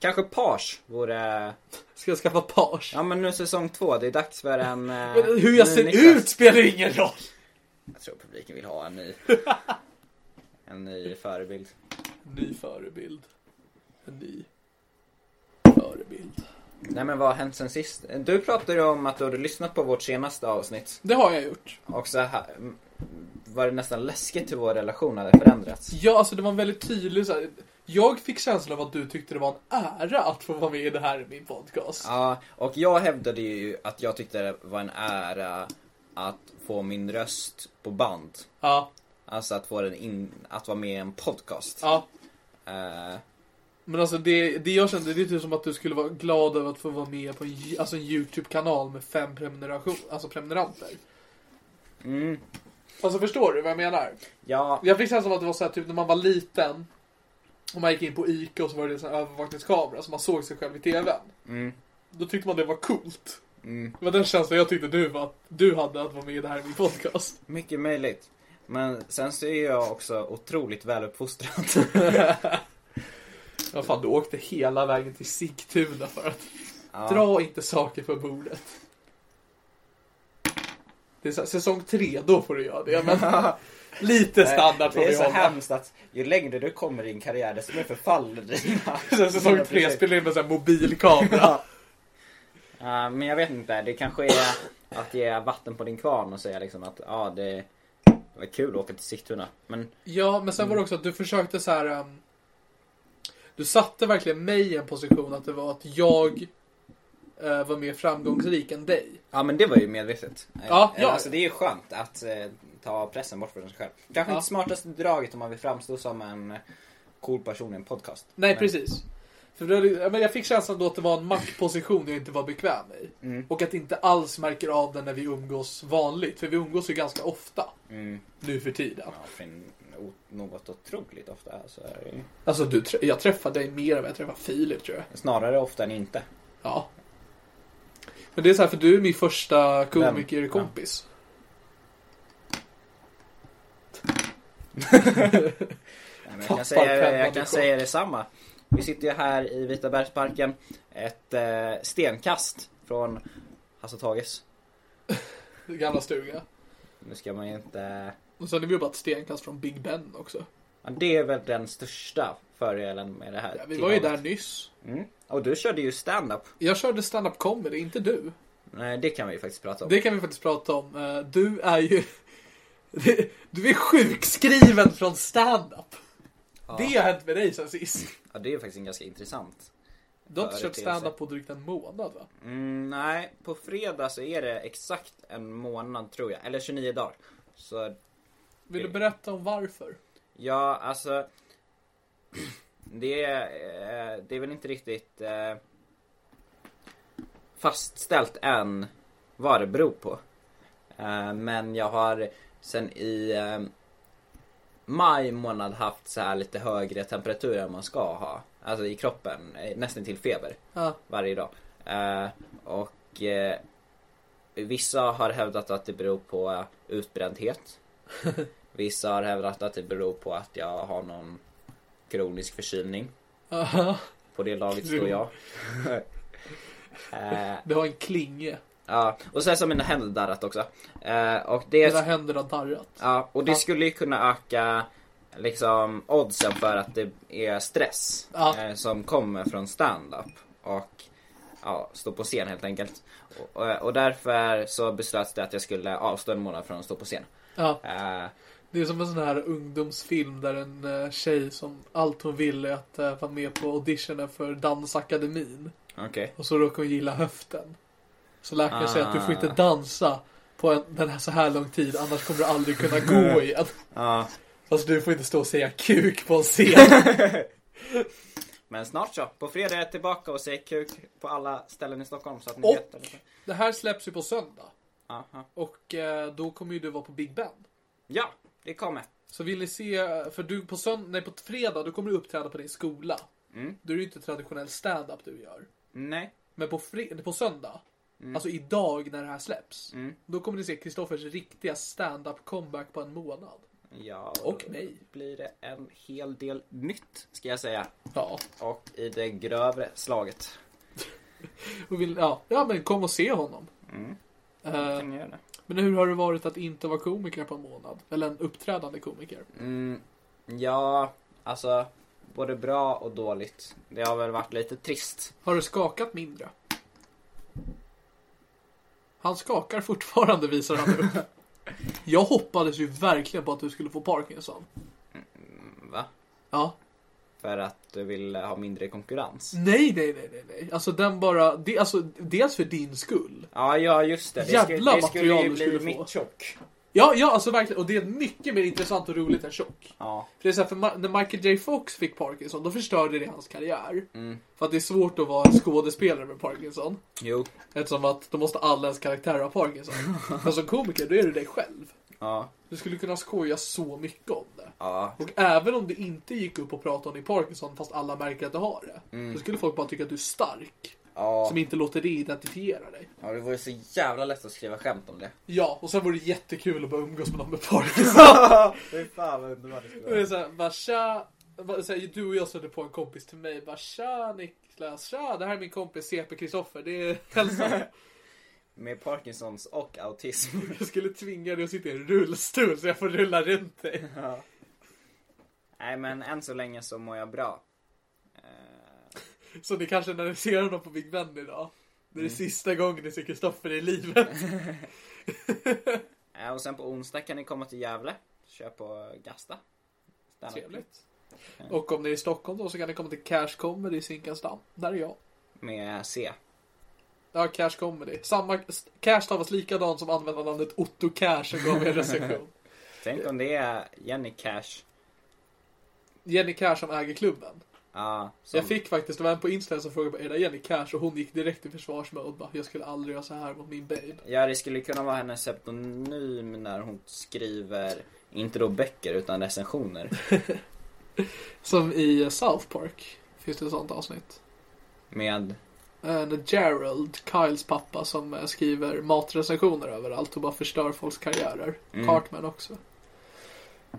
Speaker 1: Kanske page vore
Speaker 2: Ska jag skaffa page?
Speaker 1: Ja men nu är säsong två, det är dags för en... eh,
Speaker 2: Men hur jag
Speaker 1: ny
Speaker 2: ser
Speaker 1: Niklas.
Speaker 2: ut spelar ingen roll!
Speaker 1: Jag tror publiken vill ha en ny... en ny förebild.
Speaker 2: Ny förebild. En ny förebild.
Speaker 1: Nej men vad har hänt sen sist? Du pratade ju om att du hade lyssnat på vårt senaste avsnitt.
Speaker 2: Det har jag gjort.
Speaker 1: Och så här, mm, var det nästan läskigt hur vår relation hade förändrats.
Speaker 2: Ja, alltså det var en väldigt tydlig så här, Jag fick känslan av att du tyckte det var en ära att få vara med i det här i min podcast.
Speaker 1: Ja, och jag hävdade ju att jag tyckte det var en ära att få min röst på band.
Speaker 2: Ja,
Speaker 1: Alltså att få den in, att vara med i en podcast.
Speaker 2: ja.
Speaker 1: Eh,
Speaker 2: Men alltså det, det jag kände, det är typ som att du skulle vara glad över att få vara med på en, ju- alltså en YouTube-kanal med fem prenumeration, alltså prenumeranter.
Speaker 1: mm,
Speaker 2: Alltså förstår du vad jag menar?
Speaker 1: ja,
Speaker 2: Jag fick känslan av att det var så här, typ när man var liten och man gick in på ICA och så var det en sån här övervakningskamera så man såg sig själv i TVn.
Speaker 1: Mm.
Speaker 2: Då tyckte man det var coolt.
Speaker 1: Mm.
Speaker 2: Det var den känslan jag tyckte du, var, du hade att vara med i det här i min podcast.
Speaker 1: Mycket möjligt. Men sen så är jag också otroligt väluppfostrad.
Speaker 2: Ja fan, du åkte hela vägen till Sigtuna för att
Speaker 1: Ja.
Speaker 2: dra inte saker på bordet. Det är så här, säsong tre, då får du göra det. Men lite standard får
Speaker 1: Det är
Speaker 2: vi
Speaker 1: så
Speaker 2: hålla.
Speaker 1: hemskt att ju längre du kommer i din karriär desto mer förfaller dina...
Speaker 2: Sen säsong tre
Speaker 1: dina projekt.
Speaker 2: spelar in med en mobilkamera.
Speaker 1: Ja. Ja, men jag vet inte, det kanske är att ge vatten på din kvarn och säga liksom att ja, det det var kul att åka till Sigtuna. Men
Speaker 2: Ja, men sen var det också att du försökte så här. ehm, du satte verkligen mig i en position att det var att jag eh, var mer framgångsrik än dig.
Speaker 1: Ja men det var ju medvetet.
Speaker 2: Ja,
Speaker 1: Eh,
Speaker 2: ja.
Speaker 1: Alltså det är ju skönt att eh, ta pressen bort från sig själv. Kanske
Speaker 2: Ja.
Speaker 1: inte smartaste draget om man vill framstå som en cool person i en podcast.
Speaker 2: Nej,
Speaker 1: men,
Speaker 2: precis. För då, är det- ja, men jag fick känslan då att det var en maktposition jag inte var bekväm i.
Speaker 1: mm,
Speaker 2: Och att inte alls märker av den när vi umgås vanligt. För vi umgås ju ganska ofta. Nu för tiden.
Speaker 1: mm, Ja, för en- o- något otroligt ofta. Alltså, eh,
Speaker 2: Alltså du, trä- jag träffar dig mer än vad jag träffar Filip tror jag.
Speaker 1: snarare ofta än inte.
Speaker 2: Ja. Men det är så här, för du är min första komikerkompis.
Speaker 1: Nej, men jag
Speaker 2: Tappar
Speaker 1: kan, säga,
Speaker 2: pennan
Speaker 1: jag kan
Speaker 2: i
Speaker 1: säga detsamma. Vi sitter ju här i Vitabergsparken. Ett eh, stenkast från Hasse och Tages.
Speaker 2: Gamla stuga.
Speaker 1: Nu ska man ju inte...
Speaker 2: Och sen är vi ju bara ett stenkast från Big Ben också.
Speaker 1: Ja, det är väl den största fördelen med det här.
Speaker 2: Ja, vi var ju där nyss.
Speaker 1: Mm. Och du körde ju stand-up.
Speaker 2: Jag körde stand-up comedy, inte du.
Speaker 1: Nej, det kan vi ju faktiskt prata om.
Speaker 2: Det kan vi faktiskt prata om. Eh, Du är ju... Du är sjukskriven från stand-up. Det har hänt med dig sen sist.
Speaker 1: Ja, det är ju faktiskt en ganska intressant.
Speaker 2: Du har inte kört
Speaker 1: Företeelse.
Speaker 2: stand-up på drygt en månad va?
Speaker 1: Mm, nej, på fredag så är det exakt en månad tror jag, eller 29 dagar. Så
Speaker 2: Vill du berätta om varför?
Speaker 1: ja, alltså. Det är, eh, det är väl inte riktigt eh, fastställt än vad det beror på. Eh, men jag har sen i eh, maj månad haft så här lite högre temperatur än man ska ha. Alltså i kroppen, eh, nästan till feber.
Speaker 2: Ja.
Speaker 1: varje dag. Eh, och eh, vissa har hävdat att det beror på eh, utbrändhet. Vissa har hävdat att det beror på att jag har någon kronisk förkylning. På det laget står jag. Eh,
Speaker 2: Det har en klinge.
Speaker 1: ja. Och sen så har mina händer darrat också. Eh, och det...
Speaker 2: Mina händer har darrat.
Speaker 1: Ja, och det skulle ju kunna öka liksom oddsen för att det är stress
Speaker 2: Ja.
Speaker 1: eh, som kommer från stand-up och ja, stå på scen helt enkelt. Och, och, och därför så beslöts det att jag skulle avstå en månad från att stå på scen.
Speaker 2: Ja.
Speaker 1: Eh,
Speaker 2: Det är som en sån här ungdomsfilm där en eh, tjej som allt hon ville är att eh, vara med på auditionen för Dansakademin.
Speaker 1: Okej.
Speaker 2: Och så råkar hon gilla höften. Så läkaren säger att du får
Speaker 1: Ah.
Speaker 2: inte dansa på en, den här så här lång tid annars kommer du aldrig kunna gå igen.
Speaker 1: Ja,
Speaker 2: Fast du får inte stå och säga kuk på en scen.
Speaker 1: men snart så. På fredag är jag tillbaka och säger kuk på alla ställen i Stockholm så att ni
Speaker 2: Och-
Speaker 1: vet. det.
Speaker 2: Det här släpps ju på söndag.
Speaker 1: Aha.
Speaker 2: Och eh, då kommer ju du vara på Big Ben.
Speaker 1: Ja, det kommer.
Speaker 2: Så vill ni se, för du på söndag, nej på fredag då kommer du uppträda på din skola. Då är det ju inte traditionell stand-up du gör.
Speaker 1: Nej.
Speaker 2: Men på, fred- på söndag, alltså idag när det här släpps, då kommer ni se Kristoffers riktiga stand-up comeback på en månad.
Speaker 1: Ja,
Speaker 2: Och
Speaker 1: då
Speaker 2: mig.
Speaker 1: blir det en hel del nytt ska jag säga.
Speaker 2: Ja.
Speaker 1: Och i det grövre slaget.
Speaker 2: Och vill, ja, ja men kom och se honom. Eh,
Speaker 1: Kan jag göra det?
Speaker 2: men hur har det varit att inte vara komiker på en månad? Eller en uppträdande komiker?
Speaker 1: Ja, alltså både bra och dåligt. Det har väl varit lite trist.
Speaker 2: Har det skakat mindre? Han skakar fortfarande visar han upp. Jag hoppades ju verkligen på att du skulle få Parkinson.
Speaker 1: va?
Speaker 2: Ja.
Speaker 1: För att du vill eh, ha mindre konkurrens.
Speaker 2: Nej, nej, nej, nej, nej. Alltså den bara, det, alltså dels för din skull.
Speaker 1: Ja, ja just det. Det,
Speaker 2: Jävla
Speaker 1: det skulle
Speaker 2: material
Speaker 1: ju
Speaker 2: du
Speaker 1: bli
Speaker 2: skulle få.
Speaker 1: mitt chock.
Speaker 2: Ja, ja, alltså verkligen. Och det är mycket mer intressant och roligt än tjock.
Speaker 1: Ja.
Speaker 2: För det är så här, för Ma- när Michael J Fox fick Parkinson, då förstörde det hans karriär.
Speaker 1: Mm.
Speaker 2: För att det är svårt att vara en skådespelare med Parkinson.
Speaker 1: Jo.
Speaker 2: Eftersom att då måste alla ens karaktärer ha Parkinson. Men som komiker, då är du dig själv.
Speaker 1: Ja.
Speaker 2: Du skulle kunna skoja så mycket om det.
Speaker 1: Ja.
Speaker 2: Och även om du inte gick upp och pratade om din Parkinson, fast alla märker att du har det. Då skulle folk bara tycka att du är stark.
Speaker 1: Mm. Ja.
Speaker 2: Som inte låter det identifiera dig.
Speaker 1: ja, det vore så jävla lätt att skriva skämt om det.
Speaker 2: Ja, och sen vore det jättekul att bara umgås med någon med Parkinson.
Speaker 1: Fy fan vad underbart det skulle
Speaker 2: Det är såhär, bara tja. Bara, så här, du och jag stötte på en kompis till mig. Bara tja Niklas, tja det här är min kompis CP Kristoffer. Det är hälsa.
Speaker 1: Med Parkinsons och autism.
Speaker 2: Jag skulle tvinga dig att sitta i en rullstol så jag får rulla runt dig.
Speaker 1: Nej men än så länge så mår jag bra.
Speaker 2: Så ni kanske när ni ser honom på Big Ben idag. Det är det sista gången ni ser Kristoffer i livet.
Speaker 1: Eh, Och sen på onsdag kan ni komma till Gävle. Kör på Gasta. Stand-up.
Speaker 2: Trevligt. Och om ni är i Stockholm då så kan ni komma till Cash Comedy i Zinkensdamm. Där är jag.
Speaker 1: Med C.
Speaker 2: Ja, Cash Comedy. Samma, Cash stavas likadant som användarnamnet Otto Cash som gav mig en recension.
Speaker 1: Tänk om det är Jenny Cash.
Speaker 2: Jenny Cash som äger klubben.
Speaker 1: Ja,
Speaker 2: Så
Speaker 1: som...
Speaker 2: jag fick faktiskt, det var en på Instagram som frågade är det Jenny Cash och hon gick direkt i försvarsmode bara jag skulle aldrig göra så här mot min babe.
Speaker 1: ja, det skulle kunna vara hennes pseudonym när hon skriver, inte då böcker utan recensioner.
Speaker 2: Som i South Park finns det ett sånt avsnitt.
Speaker 1: Med,
Speaker 2: Eh, När Gerald, Kyles pappa som eh, skriver matrecensioner överallt och bara förstör folks karriärer. Cartman också.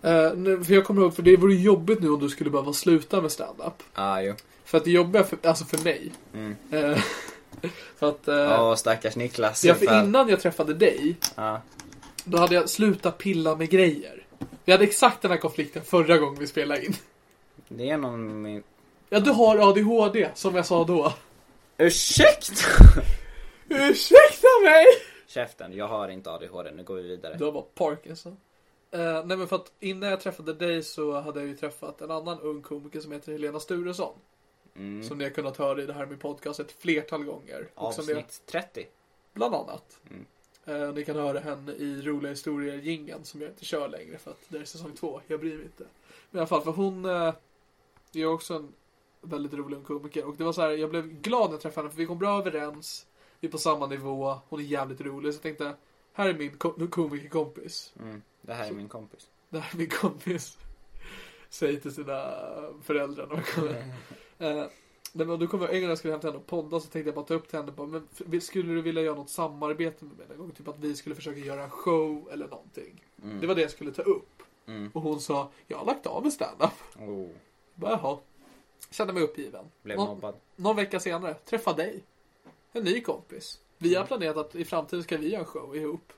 Speaker 2: Eh, nu, för jag kommer ihåg, för det vore jobbigt nu om du skulle behöva sluta med stand-up.
Speaker 1: ja ah, jo.
Speaker 2: För att det jobbiga, för, alltså för mig. eh, för att... eh,
Speaker 1: Ja, stackars Niklas.
Speaker 2: Ja, för
Speaker 1: för-
Speaker 2: innan jag träffade dig,
Speaker 1: Ja.
Speaker 2: då hade jag slutat pilla med grejer. Vi hade exakt den här konflikten förra gången vi spelade in.
Speaker 1: Det är någon min...
Speaker 2: Ja, du har ADHD, som jag sa då.
Speaker 1: Ursäkta!
Speaker 2: Ursäkta mig!
Speaker 1: Käften, jag har inte ADHD, nu går vi vidare.
Speaker 2: Du har bara Parkinson. Eh, nej, men för att innan jag träffade dig så hade jag ju träffat en annan ung komiker som heter Helena Sturesson. Som ni har kunnat höra i det här med podcast ett flertal gånger. Och som ni,
Speaker 1: Avsnitt 30.
Speaker 2: bland annat. Eh, ni kan höra henne i Roliga historier gingen som jag inte kör längre för att det är säsong två. Jag bryr mig inte. Men i alla fall, för hon eh, är också en väldigt rolig ung komiker. Och det var så här, jag blev glad när jag träffade henne för vi kom bra överens. Vi är på samma nivå, hon är jävligt rolig. Så jag tänkte, här är min ko- komikerkompis.
Speaker 1: Det här är min kompis.
Speaker 2: Det här är min kompis. Säger till sina föräldrar när de kommer.
Speaker 1: Mm.
Speaker 2: Eh, nej, men då kom jag, en gång när jag skulle hämta henne och podda så tänkte jag bara ta upp till henne. Bara, men f- skulle du vilja göra något samarbete med mig någon gång? Typ att vi skulle försöka göra en show eller någonting.
Speaker 1: Mm.
Speaker 2: Det var det jag skulle ta upp. Och hon sa, jag har lagt av med standup.
Speaker 1: Oh,
Speaker 2: Bara, Jaha. Kände mig uppgiven.
Speaker 1: blev
Speaker 2: Nå-
Speaker 1: mobbad.
Speaker 2: någon vecka senare, träffa dig. en ny kompis. Vi
Speaker 1: Mm.
Speaker 2: har planerat att i framtiden ska vi göra en show ihop.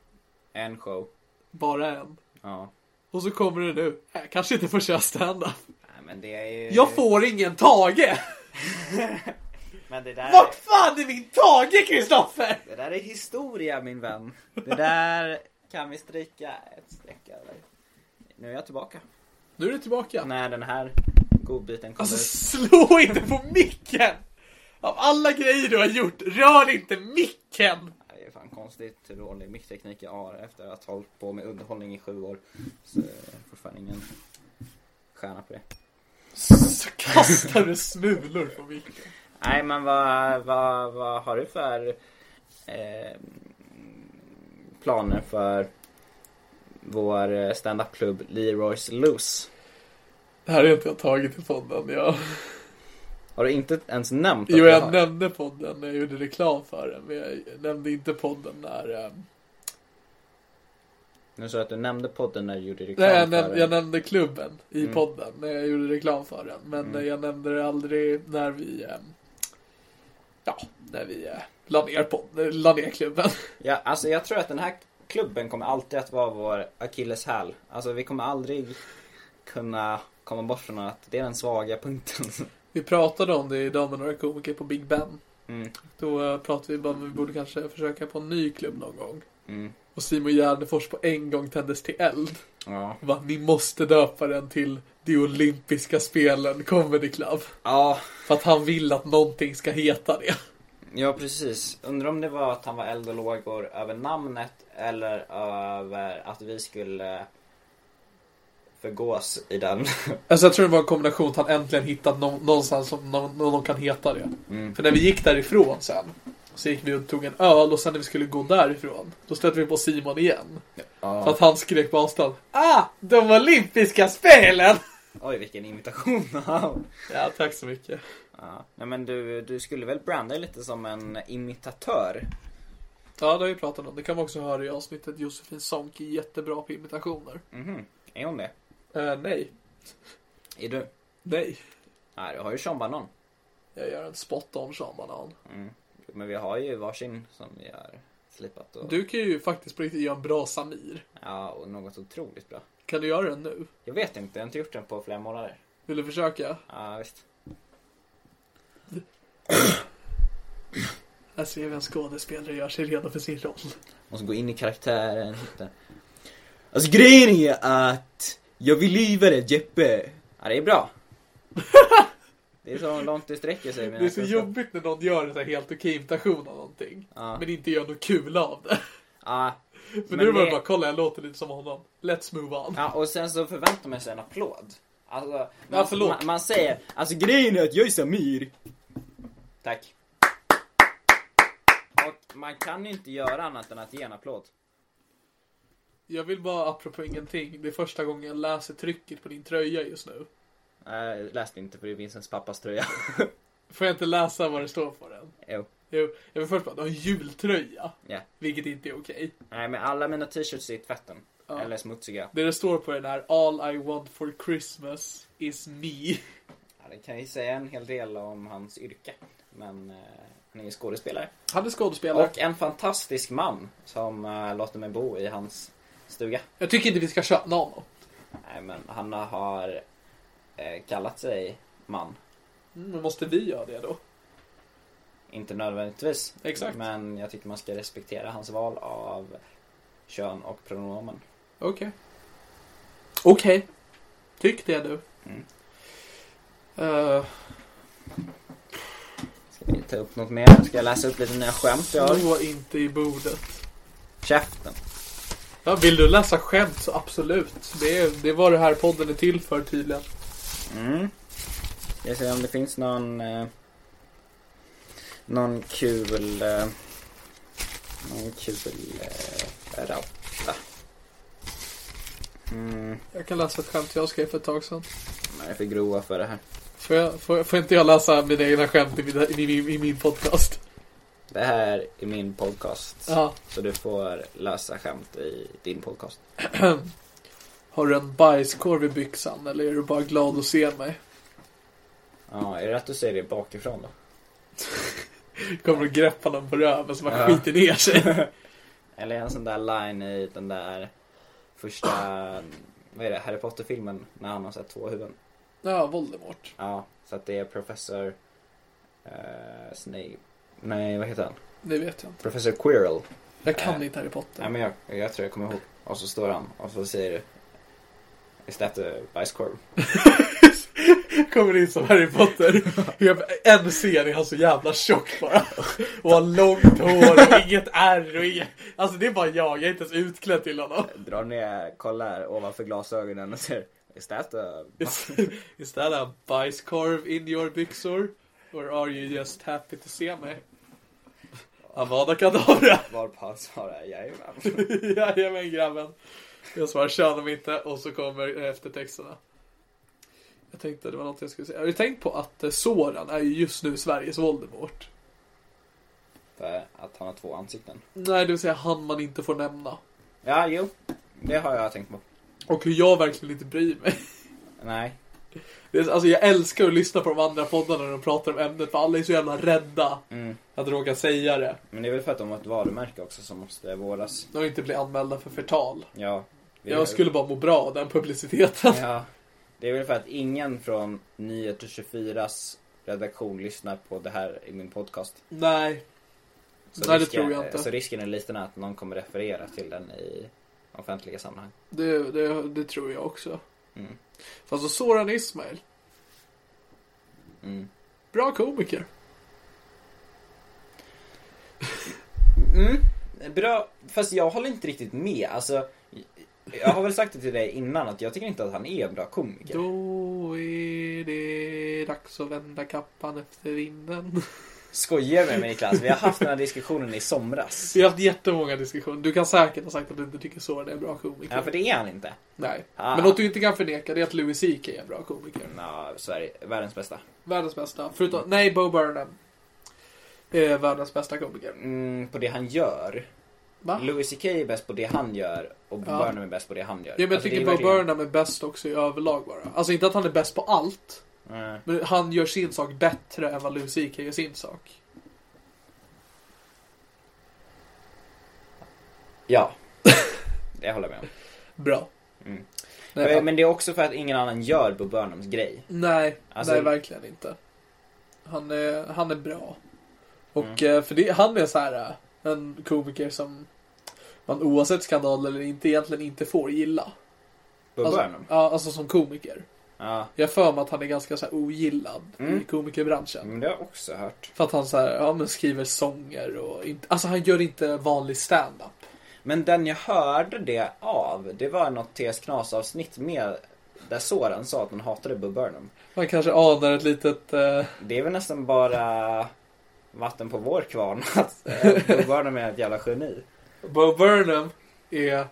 Speaker 1: En show.
Speaker 2: Bara en.
Speaker 1: Ja.
Speaker 2: Och så kommer det nu. Äh, kanske inte får köra stand-up.
Speaker 1: Nej men det är ju...
Speaker 2: Jag får ingen Tage!
Speaker 1: Men det där...
Speaker 2: Vart fan är min Tage, Kristoffer?
Speaker 1: Det där är historia min vän. Det där kan vi stryka ett streck över. Nu är jag tillbaka.
Speaker 2: Nu är du tillbaka.
Speaker 1: När den här godbiten kommer
Speaker 2: Alltså
Speaker 1: ut.
Speaker 2: slå inte på micken! Av alla grejer du har gjort, rör inte micken!
Speaker 1: Det är fan konstigt hur dålig mickteknik jag har efter att ha hållit på med underhållning i sju år. Så jag är fortfarande ingen stjärna på det.
Speaker 2: Så kastar du smulor på micken.
Speaker 1: Nej men vad, vad, vad har du för eh, planer för vår eh, standupklubb Leroy's Loose?
Speaker 2: Det här är inte jag tagit i podden. Jag...
Speaker 1: Har du inte ens nämnt att
Speaker 2: Jo,
Speaker 1: vi
Speaker 2: jag
Speaker 1: har-
Speaker 2: nämnde podden när jag gjorde reklam för den, men jag nämnde inte podden när... eh,
Speaker 1: Nu sa du att du nämnde podden när du gjorde reklam
Speaker 2: Nej, jag,
Speaker 1: för
Speaker 2: näm-
Speaker 1: den.
Speaker 2: jag nämnde klubben i
Speaker 1: Mm.
Speaker 2: podden när jag gjorde reklam för den. Men eh, jag nämnde det aldrig när vi... eh, Ja, när vi eh, la ner, podden, la ner klubben.
Speaker 1: Ja, alltså jag tror att den här klubben kommer alltid att vara vår akilleshäl. Alltså vi kommer aldrig kunna komma bort från att det är den svaga punkten.
Speaker 2: Vi pratade om det idag med några komiker på Big Ben.
Speaker 1: Mm.
Speaker 2: Då eh, pratade vi bara om att vi borde kanske försöka på en ny klubb någon gång.
Speaker 1: Mm.
Speaker 2: Och Simon Gärdenfors på en gång tändes till eld.
Speaker 1: Ja.
Speaker 2: Va, ni måste döpa den till De Olympiska Spelen Comedy Club.
Speaker 1: Ja,
Speaker 2: För att han vill att någonting ska heta det.
Speaker 1: ja precis. Undrar om det var att han var eld och lågor över namnet eller över att vi skulle förgås i den.
Speaker 2: Alltså jag tror det var en kombination att han äntligen hittat nå- någonstans som någon, någon kan heta det. För när vi gick därifrån sen. Så gick vi och tog en öl och sen när vi skulle gå därifrån. Då stötte vi på Simon igen. För att han skrek på avstånd. Ah! De olympiska spelen!
Speaker 1: Oj, vilken invitation. Wow.
Speaker 2: Ja, tack så mycket.
Speaker 1: ja. Nej men du, du skulle väl branda dig lite som en imitatör?
Speaker 2: Ja, det har vi pratat om. Det kan man också höra i avsnittet Josefin Sonck är jättebra på imitationer.
Speaker 1: Mhm. Är hon det?
Speaker 2: Eh, nej.
Speaker 1: Är du?
Speaker 2: Nej.
Speaker 1: Nej, du har ju Sean Banan.
Speaker 2: Jag gör en spot on Sean Banan.
Speaker 1: Men vi har ju varsin som vi har slipat och...
Speaker 2: Du kan ju faktiskt på riktigt göra en bra Samir.
Speaker 1: Ja, och något otroligt bra.
Speaker 2: Kan du göra den nu?
Speaker 1: Jag vet inte, jag har inte gjort den på flera månader.
Speaker 2: Vill du försöka?
Speaker 1: Ja, visst.
Speaker 2: Här ser vi en skådespelare gör sig redo för sin roll.
Speaker 1: Måste gå in i karaktären, hitta... Alltså grejen är att jag vill liva det, Jeppe. Ja, det är bra. det är så långt det sträcker sig.
Speaker 2: Det är så jobbigt när någon gör en så här helt okej imitation av någonting. Men inte gör något kul av det.
Speaker 1: Ja.
Speaker 2: För
Speaker 1: Men
Speaker 2: nu var det
Speaker 1: det-
Speaker 2: bara, kolla jag låter lite som honom. Let's move on.
Speaker 1: ja, och sen så förväntar man sig en applåd. Alltså, man,
Speaker 2: Ja, förlåt.
Speaker 1: Man, man säger, alltså grejen är att jag är Samir. Tack. Och man kan ju inte göra annat än att ge en applåd.
Speaker 2: Jag vill bara, apropå ingenting, det är första gången jag läser trycket på din tröja just nu.
Speaker 1: Nej, jag läste inte för det är Vincents pappas tröja.
Speaker 2: Får jag inte läsa vad det står på den?
Speaker 1: jo.
Speaker 2: Jo, jag vill först bara, du har en jultröja.
Speaker 1: Ja.
Speaker 2: Vilket inte är okej.
Speaker 1: Nej men alla mina t-shirts är i tvätten. Eller smutsiga.
Speaker 2: Det det står på den här, All I want for Christmas is me.
Speaker 1: Ja, det kan ju säga en hel del om hans yrke. Men eh, han är ju skådespelare.
Speaker 2: Han är skådespelare.
Speaker 1: Och en fantastisk man som eh, låter mig bo i hans stuga.
Speaker 2: Jag tycker inte vi ska köna honom.
Speaker 1: Nej men han har eh, kallat sig man.
Speaker 2: Mm, Men måste vi göra det då?
Speaker 1: Inte nödvändigtvis.
Speaker 2: Exakt.
Speaker 1: Men jag tycker man ska respektera hans val av kön och pronomen.
Speaker 2: Okej. Okej. Tyck det du.
Speaker 1: Mm.
Speaker 2: Eh,
Speaker 1: Ska vi ta upp något mer? Ska jag läsa upp lite nya skämt jag har?
Speaker 2: Slå inte i bordet.
Speaker 1: Käften.
Speaker 2: Ja, vill du läsa skämt så absolut. Det är, det är vad det här podden är till för tydligen.
Speaker 1: Mm. Jag ser om det finns någon eh, Någon kul eh, Någon kul eh, rappa. Mm,
Speaker 2: Jag kan läsa ett skämt jag skrev för ett tag sedan.
Speaker 1: de är för grova för det här.
Speaker 2: Får, jag, får, får inte jag läsa mina egna skämt i min, i min, i min podcast?
Speaker 1: Det här är min podcast.
Speaker 2: Ja.
Speaker 1: Så du får läsa skämt i din podcast.
Speaker 2: Har du en bajskorv i byxan eller är du bara glad att se mig?
Speaker 1: Ja, är det rätt att säga det bakifrån då?
Speaker 2: Kommer och greppar någon på röven som bara skiter ner sig.
Speaker 1: Eller en sån där line i den där första, vad är det, Harry Potter-filmen när han har sett två huvuden.
Speaker 2: Ja, Voldemort.
Speaker 1: Ja, så att det är professor eh, Snape. Nej, vad heter han?
Speaker 2: Det vet jag inte.
Speaker 1: Professor Quirrell.
Speaker 2: Jag kan
Speaker 1: Äh.
Speaker 2: inte Harry Potter.
Speaker 1: Nej men jag, jag tror jag kommer ihåg. Och så står han och så säger Is that a bajskorv?
Speaker 2: Kommer in som Harry Potter. Jag, en scen är han så jävla tjock bara. Och har långt hår och inget ärr och inget... Alltså det är bara jag, jag är inte ens utklädd till honom.
Speaker 1: Drar ner, kollar ovanför glasögonen och säger Is that a...
Speaker 2: Is that a bajskorv in your byxor? Or are you just happy to see mig? Avada Kedavra!
Speaker 1: Varpå han svarar jajamän.
Speaker 2: Jajamän grabben. Jag svarar kör dem inte och så kommer eftertexterna. Jag tänkte det var något jag skulle säga. Har du tänkt på att eh, Soran är ju just nu Sveriges Voldemort?
Speaker 1: För eh, att han har två ansikten.
Speaker 2: Nej, det vill säga han man inte får nämna.
Speaker 1: Ja, jo. Det har jag tänkt på.
Speaker 2: Och hur jag verkligen inte bryr mig.
Speaker 1: Nej.
Speaker 2: Det är, alltså jag älskar att lyssna på de andra poddarna när de pratar om ämnet för alla är så jävla rädda att råka säga det.
Speaker 1: Men det är väl för att de har ett varumärke också som måste vårdas.
Speaker 2: De inte blir anmälda för förtal.
Speaker 1: Ja. Vi har-
Speaker 2: Jag skulle bara må bra av den publiciteten.
Speaker 1: Ja. Det är väl för att ingen från Nyheter 24s redaktion lyssnar på det här i min podcast.
Speaker 2: Nej.
Speaker 1: Så
Speaker 2: Nej, det
Speaker 1: risken-
Speaker 2: tror jag inte.
Speaker 1: Så risken är liten att någon kommer referera till den i offentliga sammanhang.
Speaker 2: Det, det, det tror jag också. Fast så Soran Ismail.
Speaker 1: Mm.
Speaker 2: Bra komiker.
Speaker 1: Bra, fast jag håller inte riktigt med. Alltså, jag har väl sagt det till dig innan att jag tycker inte att han är en bra komiker.
Speaker 2: Då är det dags att vända kappan efter vinden.
Speaker 1: Skojar med mig Niklas? Vi har haft den här diskussionen i somras.
Speaker 2: Vi har haft jättemånga diskussioner. Du kan säkert ha sagt att du inte tycker Soran är en bra komiker.
Speaker 1: Ja, för det är han inte.
Speaker 2: Nej.
Speaker 1: Ah. Mm.
Speaker 2: Men något du inte kan förneka det är att Louis CK är en bra komiker.
Speaker 1: Ja, Sverige, världens bästa.
Speaker 2: Världens bästa. Förutom, nej, Bo Burnham. Är världens bästa komiker.
Speaker 1: Mm, på det han gör.
Speaker 2: Va?
Speaker 1: Louis CK är bäst på det han gör och
Speaker 2: Ja.
Speaker 1: Burnham är bäst på det han gör.
Speaker 2: Ja, men jag
Speaker 1: Alltså, det
Speaker 2: tycker
Speaker 1: är
Speaker 2: Bo
Speaker 1: verkligen-
Speaker 2: Burnham är bäst också i överlag bara. Alltså inte att han är bäst på allt.
Speaker 1: Nej.
Speaker 2: Men han gör sin sak bättre än vad Louis CK gör sin sak.
Speaker 1: Ja. Det håller jag med om.
Speaker 2: Bra. Nej,
Speaker 1: Mm. Men- Men det är också för att ingen annan gör Bo Burnhams grej.
Speaker 2: nej,
Speaker 1: Alltså-
Speaker 2: nej, verkligen inte. Han är, han är bra. Och eh, för det, han är så här eh, en komiker som man oavsett skandal eller inte egentligen inte får gilla.
Speaker 1: Bo
Speaker 2: Alltså,
Speaker 1: Burnham.
Speaker 2: ja, alltså som komiker.
Speaker 1: Ja.
Speaker 2: Jag har för mig att han är ganska så här ogillad i komikerbranschen.
Speaker 1: Men det har jag också hört.
Speaker 2: För att han så här, ja, men skriver sånger och inte, alltså han gör inte vanlig stand-up.
Speaker 1: Men den jag hörde det av, det var något TS Knas avsnitt med där Soran sa att han hatade Bo Burnham.
Speaker 2: Man kanske anar ett litet... Eh,
Speaker 1: Det är väl nästan bara vatten på vår kvarn att eh, Bo Burnham är ett jävla geni.
Speaker 2: Bo Burnham är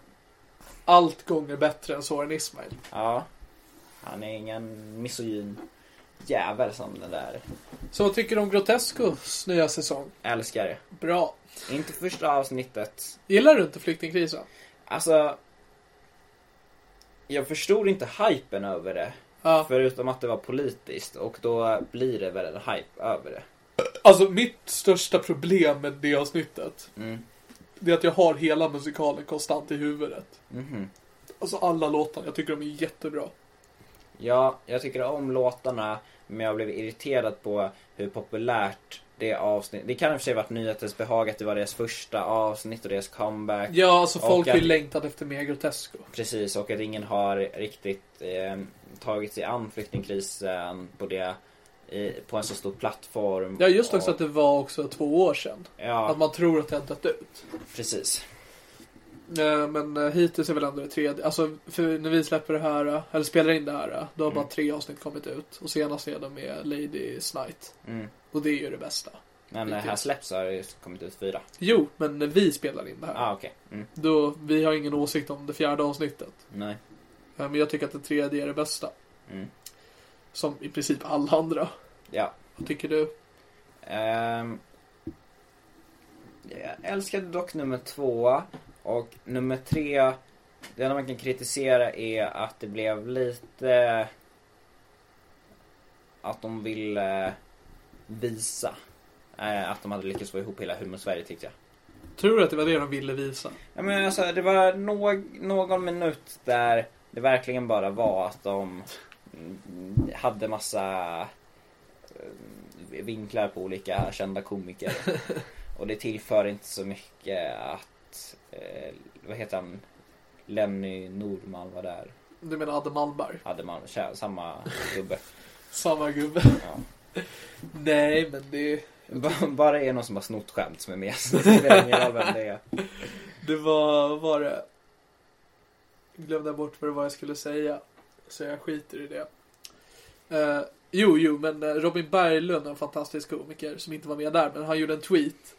Speaker 2: allt gånger bättre än Soran Ismail.
Speaker 1: Ja. Han är ingen misogyn jävel som den där.
Speaker 2: Så vad tycker du om Grotescos nya säsong?
Speaker 1: Älskar det.
Speaker 2: Bra.
Speaker 1: Inte första avsnittet
Speaker 2: Gillar du inte flyktingkrisen?
Speaker 1: Alltså Jag förstod inte hypen över det
Speaker 2: Ja.
Speaker 1: Förutom att det var politiskt och då blir det väl en hype över det
Speaker 2: Alltså mitt största problem med det avsnittet. Det är att jag har hela musikalen konstant i huvudet.
Speaker 1: Mhm.
Speaker 2: Alltså alla låtar, jag tycker de är jättebra.
Speaker 1: Ja, jag tycker om låtarna Men jag blev irriterad på hur populärt det avsnittet Det kan i och för sig varit nyhetens behag att det var deras första avsnitt och deras comeback
Speaker 2: Ja, alltså folk
Speaker 1: Och
Speaker 2: har
Speaker 1: att-
Speaker 2: ju längtat efter mer Grotesco.
Speaker 1: Precis, och att ingen har riktigt eh, tagit sig an flyktingkrisen på det i, på en så stor plattform
Speaker 2: Ja, just också
Speaker 1: och,
Speaker 2: att det var också två år sedan.
Speaker 1: Ja,
Speaker 2: Att man tror att det har dött ut.
Speaker 1: precis
Speaker 2: Eh, Men eh, hittills är väl ändå det tredje. Alltså, för när vi släpper det här, eh, eller spelar in det här, eh, då har bara tre avsnitt kommit ut. Och senast är de med Lady Snite. Och det är ju det bästa.
Speaker 1: Mm. Men eh, här släpps har det kommit ut fyra.
Speaker 2: Jo, men när vi spelar in det här.
Speaker 1: Ah, okej. Mm.
Speaker 2: Då, vi har ingen åsikt om det fjärde avsnittet.
Speaker 1: Nej.
Speaker 2: Eh, Men jag tycker att det tredje är det bästa.
Speaker 1: Mm.
Speaker 2: Som i princip alla andra.
Speaker 1: Ja.
Speaker 2: Vad tycker du?
Speaker 1: Ehm, jag älskade dock nummer två. Och nummer tre, det enda man kan kritisera är att det blev lite... Att de ville visa eh, att de hade lyckats få ihop hela Humor Sverige tyckte jag.
Speaker 2: Tror du att det var det de ville visa?
Speaker 1: Ja, men alltså, det var någ- någon minut där det verkligen bara var att de mm, hade massa eh, vinklar på olika kända komiker. Och det tillför inte så mycket att, eh, vad heter han, Lenny Norman var där.
Speaker 2: Du menar Adde Malmberg?
Speaker 1: Hade man kä- samma gubbe.
Speaker 2: Samma gubbe.
Speaker 1: Ja.
Speaker 2: Nej, men det,
Speaker 1: B- bara är någon som har snott skämt som är med. Så det spelar ingen roll vem det är.
Speaker 2: det var, vad var det? Jag glömde bort vad det var jag skulle säga. Så jag skiter i det. Eh, jo, jo, men eh, Robin Berglund, en fantastisk komiker som inte var med där, men han gjorde en tweet.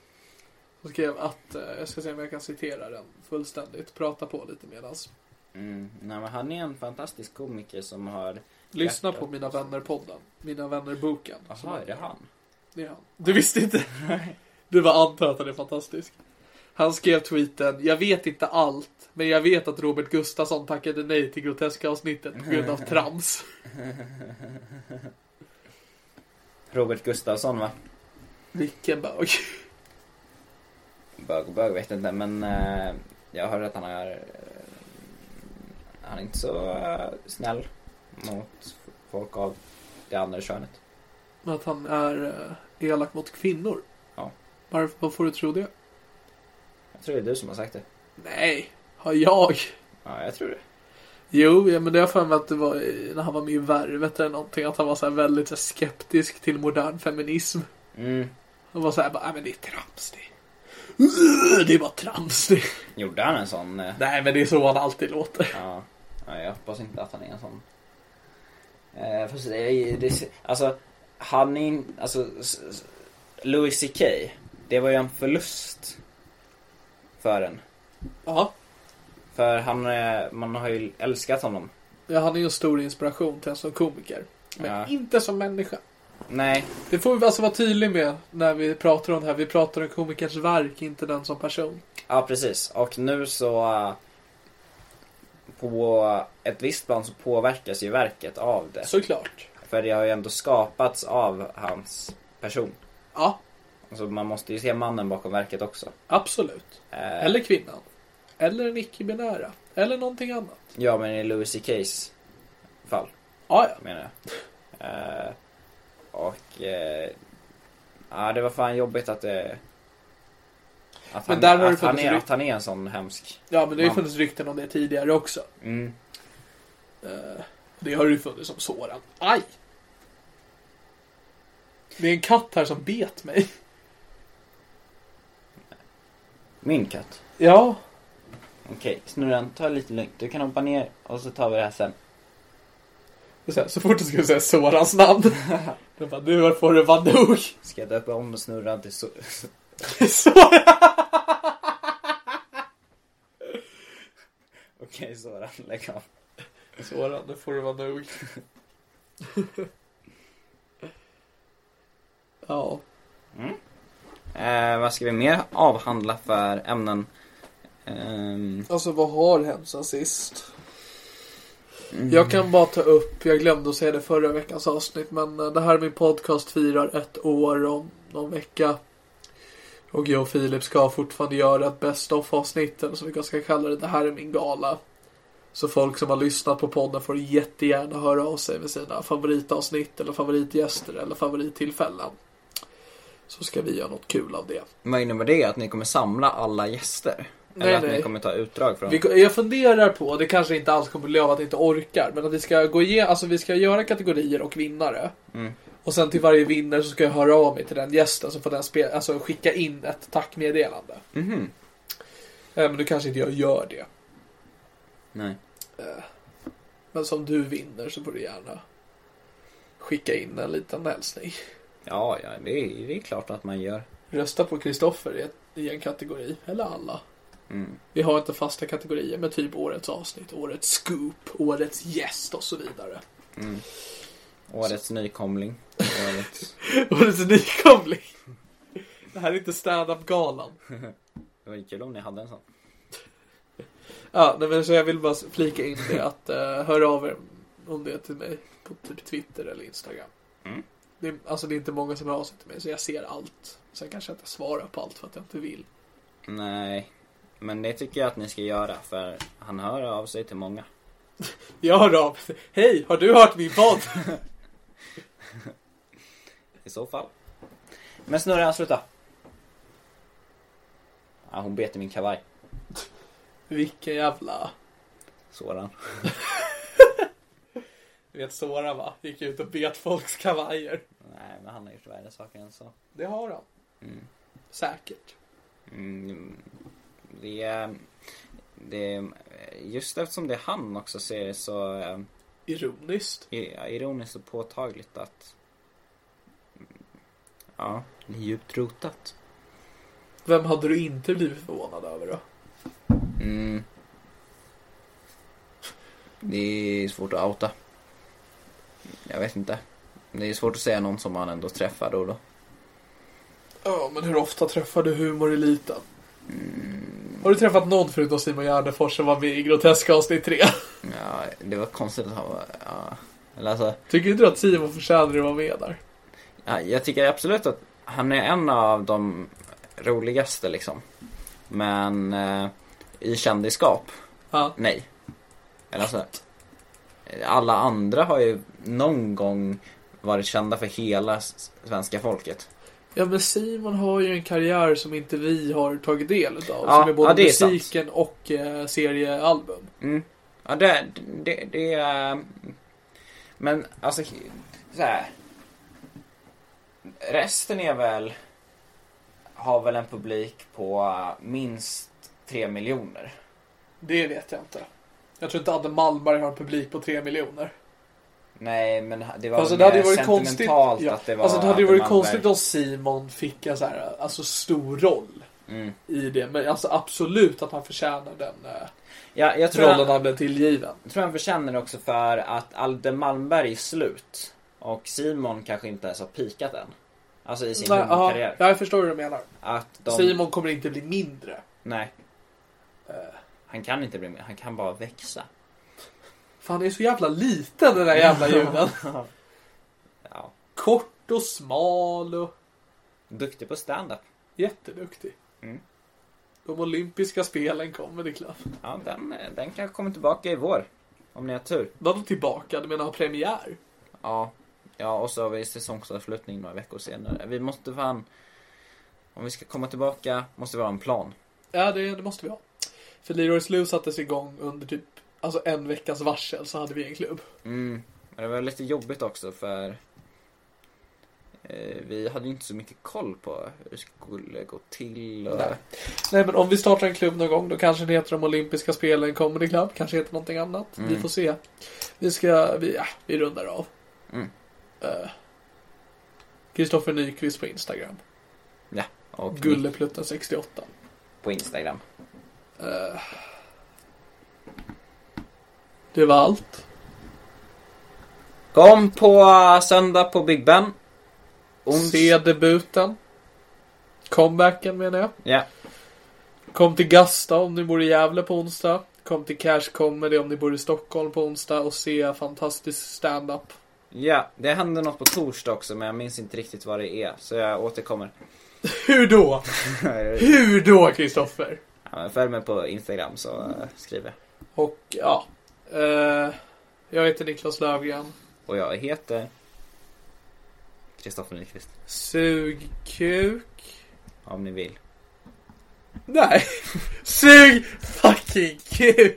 Speaker 2: Och skrev att, eh, jag ska se om jag kan citera den fullständigt, prata på lite medans.
Speaker 1: Mm, nej, men han är en fantastisk komiker som har...
Speaker 2: Lyssna
Speaker 1: Hjärtat.
Speaker 2: på Mina Vänner-podden, Mina Vänner-boken. som
Speaker 1: Jaha, är det han?
Speaker 2: Det är han. Du visste inte? Du var antar att han är fantastisk. Han skrev tweeten, jag vet inte allt, men jag vet att Robert Gustafsson tackade nej till groteska avsnittet på grund av trams.
Speaker 1: Robert Gustafsson va?
Speaker 2: Vilken bög.
Speaker 1: Bög och bög vet jag inte men eh, jag hörde att han är... eh, han är inte så eh, snäll mot folk av det andra könet.
Speaker 2: Att han är eh, elak mot kvinnor.
Speaker 1: Ja.
Speaker 2: Varför, vad får du tro det?
Speaker 1: Jag tror det är du som har sagt det.
Speaker 2: Nej, har jag?
Speaker 1: Ja, jag tror det.
Speaker 2: Jo, ja, men det har jag för mig att det var i- när han var med i Värvet eller någonting, att han var så här väldigt så här, skeptisk till modern feminism.
Speaker 1: Mm.
Speaker 2: Han var så här bara, nej men det är trams det. Det är bara trams det.
Speaker 1: Gjorde han en sån? eh,
Speaker 2: Nej, men det är så han alltid låter.
Speaker 1: Ja, ja, jag hoppas inte att han är en sån. Eh, fast det, är- det, alltså, han är in, alltså, s- s- Louis CK, det var ju en förlust för en.
Speaker 2: Ja,
Speaker 1: För han, eh, man har ju älskat honom.
Speaker 2: ja, han är ju en stor inspiration till en som komiker. Men
Speaker 1: Ja.
Speaker 2: inte som människa.
Speaker 1: Nej,
Speaker 2: Det får vi alltså vara tydlig med när vi pratar om det här. Vi pratar om komikers verk, inte den som person.
Speaker 1: ja precis. Och nu så... eh, På ett visst plan så påverkas ju verket av det.
Speaker 2: Såklart.
Speaker 1: För det har ju ändå skapats av hans person.
Speaker 2: Ja,
Speaker 1: Så man måste ju se mannen bakom verket också.
Speaker 2: absolut.
Speaker 1: Eh,
Speaker 2: Eller kvinnan. Eller en icke-binära. Eller någonting annat.
Speaker 1: Ja, men i Louis CK's fall,
Speaker 2: Ja, ja.
Speaker 1: menar jag. Eh, och... eh, ja, det var fan jobbigt att det... Att
Speaker 2: Men
Speaker 1: han,
Speaker 2: där har det
Speaker 1: att, han
Speaker 2: funnits
Speaker 1: är,
Speaker 2: ryk-
Speaker 1: att han är en sån hemsk...
Speaker 2: ja, men det har ju
Speaker 1: Man-
Speaker 2: funnits rykten om det tidigare också.
Speaker 1: Mm.
Speaker 2: Det har det ju funnits som Soran. Aj! Det är en katt här som bet mig.
Speaker 1: Min katt.
Speaker 2: Ja,
Speaker 1: Okej, snurran, ta det lite lugnt. Du kan hoppa ner och så tar vi det här sen.
Speaker 2: Och Så, här, så fort du skulle säga Sorans namn. Då bara, nu får det vara nog.
Speaker 1: Ska jag döpa om snurran till... So-
Speaker 2: Soran!
Speaker 1: Okej, Soran, lägg av.
Speaker 2: Soran, nu får det vara nog. ja.
Speaker 1: Eh, vad ska vi mer avhandla för ämnen? Ehm,
Speaker 2: Alltså vad har hänt sen sist? Jag kan bara ta upp, jag glömde att säga det förra veckans avsnitt, men eh, det här är min podcast firar ett år om någon vecka. Och jag och Filip ska fortfarande göra ett best of avsnitten som vi kanske ska kalla det, det här är min gala. Så folk som har lyssnat på podden får jättegärna höra av sig med sina favoritavsnitt eller favoritgäster eller favorittillfällen. Så ska vi göra något kul av det.
Speaker 1: vad innebär det? Att ni kommer samla alla gäster?
Speaker 2: Nej,
Speaker 1: Eller att
Speaker 2: nej.
Speaker 1: ni kommer ta utdrag från?
Speaker 2: Vi, jag funderar på, det kanske inte alls kommer bli av att jag inte orkar, men att vi ska gå igen, alltså vi ska göra kategorier och vinnare. Och sen till varje vinnare så ska jag höra av mig till den gästen så får den spe, alltså skicka in ett tackmeddelande. Mm.
Speaker 1: Mhm.
Speaker 2: Men nu kanske inte jag gör det. Eh,
Speaker 1: Nej.
Speaker 2: Men som du vinner så får du gärna skicka in en liten hälsning.
Speaker 1: Ja, ja det, är, det är klart att man gör.
Speaker 2: Rösta på Kristoffer i, ett- i en kategori, eller alla. Vi har inte fasta kategorier med typ årets avsnitt, årets scoop, årets gäst och så vidare.
Speaker 1: Årets nykomling. Årets...
Speaker 2: Årets nykomling. Det här är inte stand-up-galan.
Speaker 1: Det var kul om ni hade en sån.
Speaker 2: Ja, nej, men så jag vill bara flika in eh, det att uh, hör av er om det till mig på typ Twitter eller Instagram. det, är- alltså det är inte många som hör av sig till mig, så jag ser allt. Sen kanske jag inte svarar på allt för att jag inte vill.
Speaker 1: Nej. Men det tycker jag att ni ska göra för han hör av sig till många.
Speaker 2: Jag hör av mig. Hej, har du hört min podd?
Speaker 1: I så fall. Men snurran, sluta. Ja, hon bet i min kavaj.
Speaker 2: Vilken jävla...
Speaker 1: Sådan.
Speaker 2: Du vet Sora va? Gick ut och bet folks kavajer.
Speaker 1: Nej, men han har gjort värre saker än så.
Speaker 2: Det har han. Säkert.
Speaker 1: Mm, det är... Det är, just eftersom det är han också så är det så eh,
Speaker 2: Ironiskt.
Speaker 1: i- ironiskt och påtagligt att... Mm, Ja, det är djupt rotat.
Speaker 2: Vem hade du inte blivit förvånad över då?
Speaker 1: Mm. Det är svårt att outa. Jag vet inte. Det är svårt att säga någon som man ändå träffar då och då.
Speaker 2: Ja, men hur ofta träffar du humoreliten? Har du träffat någon förutom Simon Gärdenfors som var med i Groteska avsnitt 3?
Speaker 1: Ja, det var konstigt att han var... Ja. Eller alltså,
Speaker 2: Tycker inte du att Simon förtjänar att vara med där?
Speaker 1: ja, jag tycker absolut att han är en av de roligaste liksom. Men eh, i kändisskap,
Speaker 2: Ja.
Speaker 1: nej. Eller alltså, alla andra har ju någon gång varit kända för hela s- svenska folket.
Speaker 2: ja, men Simon har ju en karriär som inte vi har tagit del av.
Speaker 1: Ja,
Speaker 2: som är både
Speaker 1: ja, det är sant.
Speaker 2: musiken och eh, seriealbum.
Speaker 1: Mm. Ja, det, det, det är... Men alltså, så här. Resten är väl... Har väl en publik på minst tre miljoner.
Speaker 2: Det vet jag inte. Jag tror inte Adde Malmberg har en publik på 3 miljoner.
Speaker 1: Nej, men det var
Speaker 2: Alltså
Speaker 1: väl
Speaker 2: det hade ju
Speaker 1: mer
Speaker 2: varit konstigt.
Speaker 1: sentimentalt
Speaker 2: ja.
Speaker 1: att det var...
Speaker 2: alltså det hade ju varit
Speaker 1: att man
Speaker 2: konstigt
Speaker 1: var-
Speaker 2: om Simon fick en så här, alltså stor roll
Speaker 1: Mm.
Speaker 2: i det. Men alltså absolut att han förtjänar den eh,
Speaker 1: Ja, jag tror
Speaker 2: rollen
Speaker 1: han,
Speaker 2: han blev tillgiven.
Speaker 1: jag tror han förtjänar det också för att Alde Malmberg är slut. Och Simon kanske inte ens har pikat än. Alltså i sin
Speaker 2: Nej, ja,
Speaker 1: humorkarriär.
Speaker 2: jag förstår hur du menar.
Speaker 1: Att de...
Speaker 2: Simon kommer inte bli mindre.
Speaker 1: Nej. Eh, Han kan inte bli med, han kan bara växa.
Speaker 2: För han är så jävla liten den där jävla juden.
Speaker 1: Ja.
Speaker 2: Kort och smal och
Speaker 1: Duktig på stand-up.
Speaker 2: jätteduktig.
Speaker 1: Mm.
Speaker 2: De olympiska spelen kommer det är klart.
Speaker 1: Ja, den, eh, den kanske kommer tillbaka i vår. Om ni har tur.
Speaker 2: Vadå tillbaka? Du menar ha premiär?
Speaker 1: Ja. Ja, och så har vi säsongsavslutning några veckor senare. Vi måste fan... Om vi ska komma tillbaka måste vi ha en plan.
Speaker 2: Ja, det, det måste vi ha. För Leroy Slew sattes igång under typ alltså en veckas varsel så hade vi en klubb.
Speaker 1: Mm. Men det var lite jobbigt också för... eh, Vi hade ju inte så mycket koll på hur det skulle gå till och...
Speaker 2: Nej. Nej, men om vi startar en klubb någon gång då kanske det heter de olympiska spelen comedy club. Kanske heter någonting annat. Vi får se. Vi ska, vi, ja, vi rundar av. Eh,
Speaker 1: Mm.
Speaker 2: Kristoffer Nyqvist på Instagram.
Speaker 1: Ja. Och Nick
Speaker 2: Gulleplutten68.
Speaker 1: på Instagram.
Speaker 2: Det var allt.
Speaker 1: Kom på eh, söndag på Big Ben. Ons-
Speaker 2: Se debuten. Comebacken menar jag.
Speaker 1: Ja.
Speaker 2: Kom till Gasta om ni bor i Gävle på onsdag. Kom till Cash Comedy om ni bor i Stockholm på onsdag och se fantastisk stand-up.
Speaker 1: Ja, det händer något på torsdag också men jag minns inte riktigt vad det är så jag återkommer.
Speaker 2: Hur då? Hur då, Kristoffer?
Speaker 1: Ja, men Följ mig på Instagram så eh, skriver jag.
Speaker 2: Och ja. Eh, jag heter Niklas Löfgren.
Speaker 1: Och jag heter Kristoffer Nyqvist.
Speaker 2: Sug kuk.
Speaker 1: Om ni vill.
Speaker 2: Nej. Sug fucking kuk.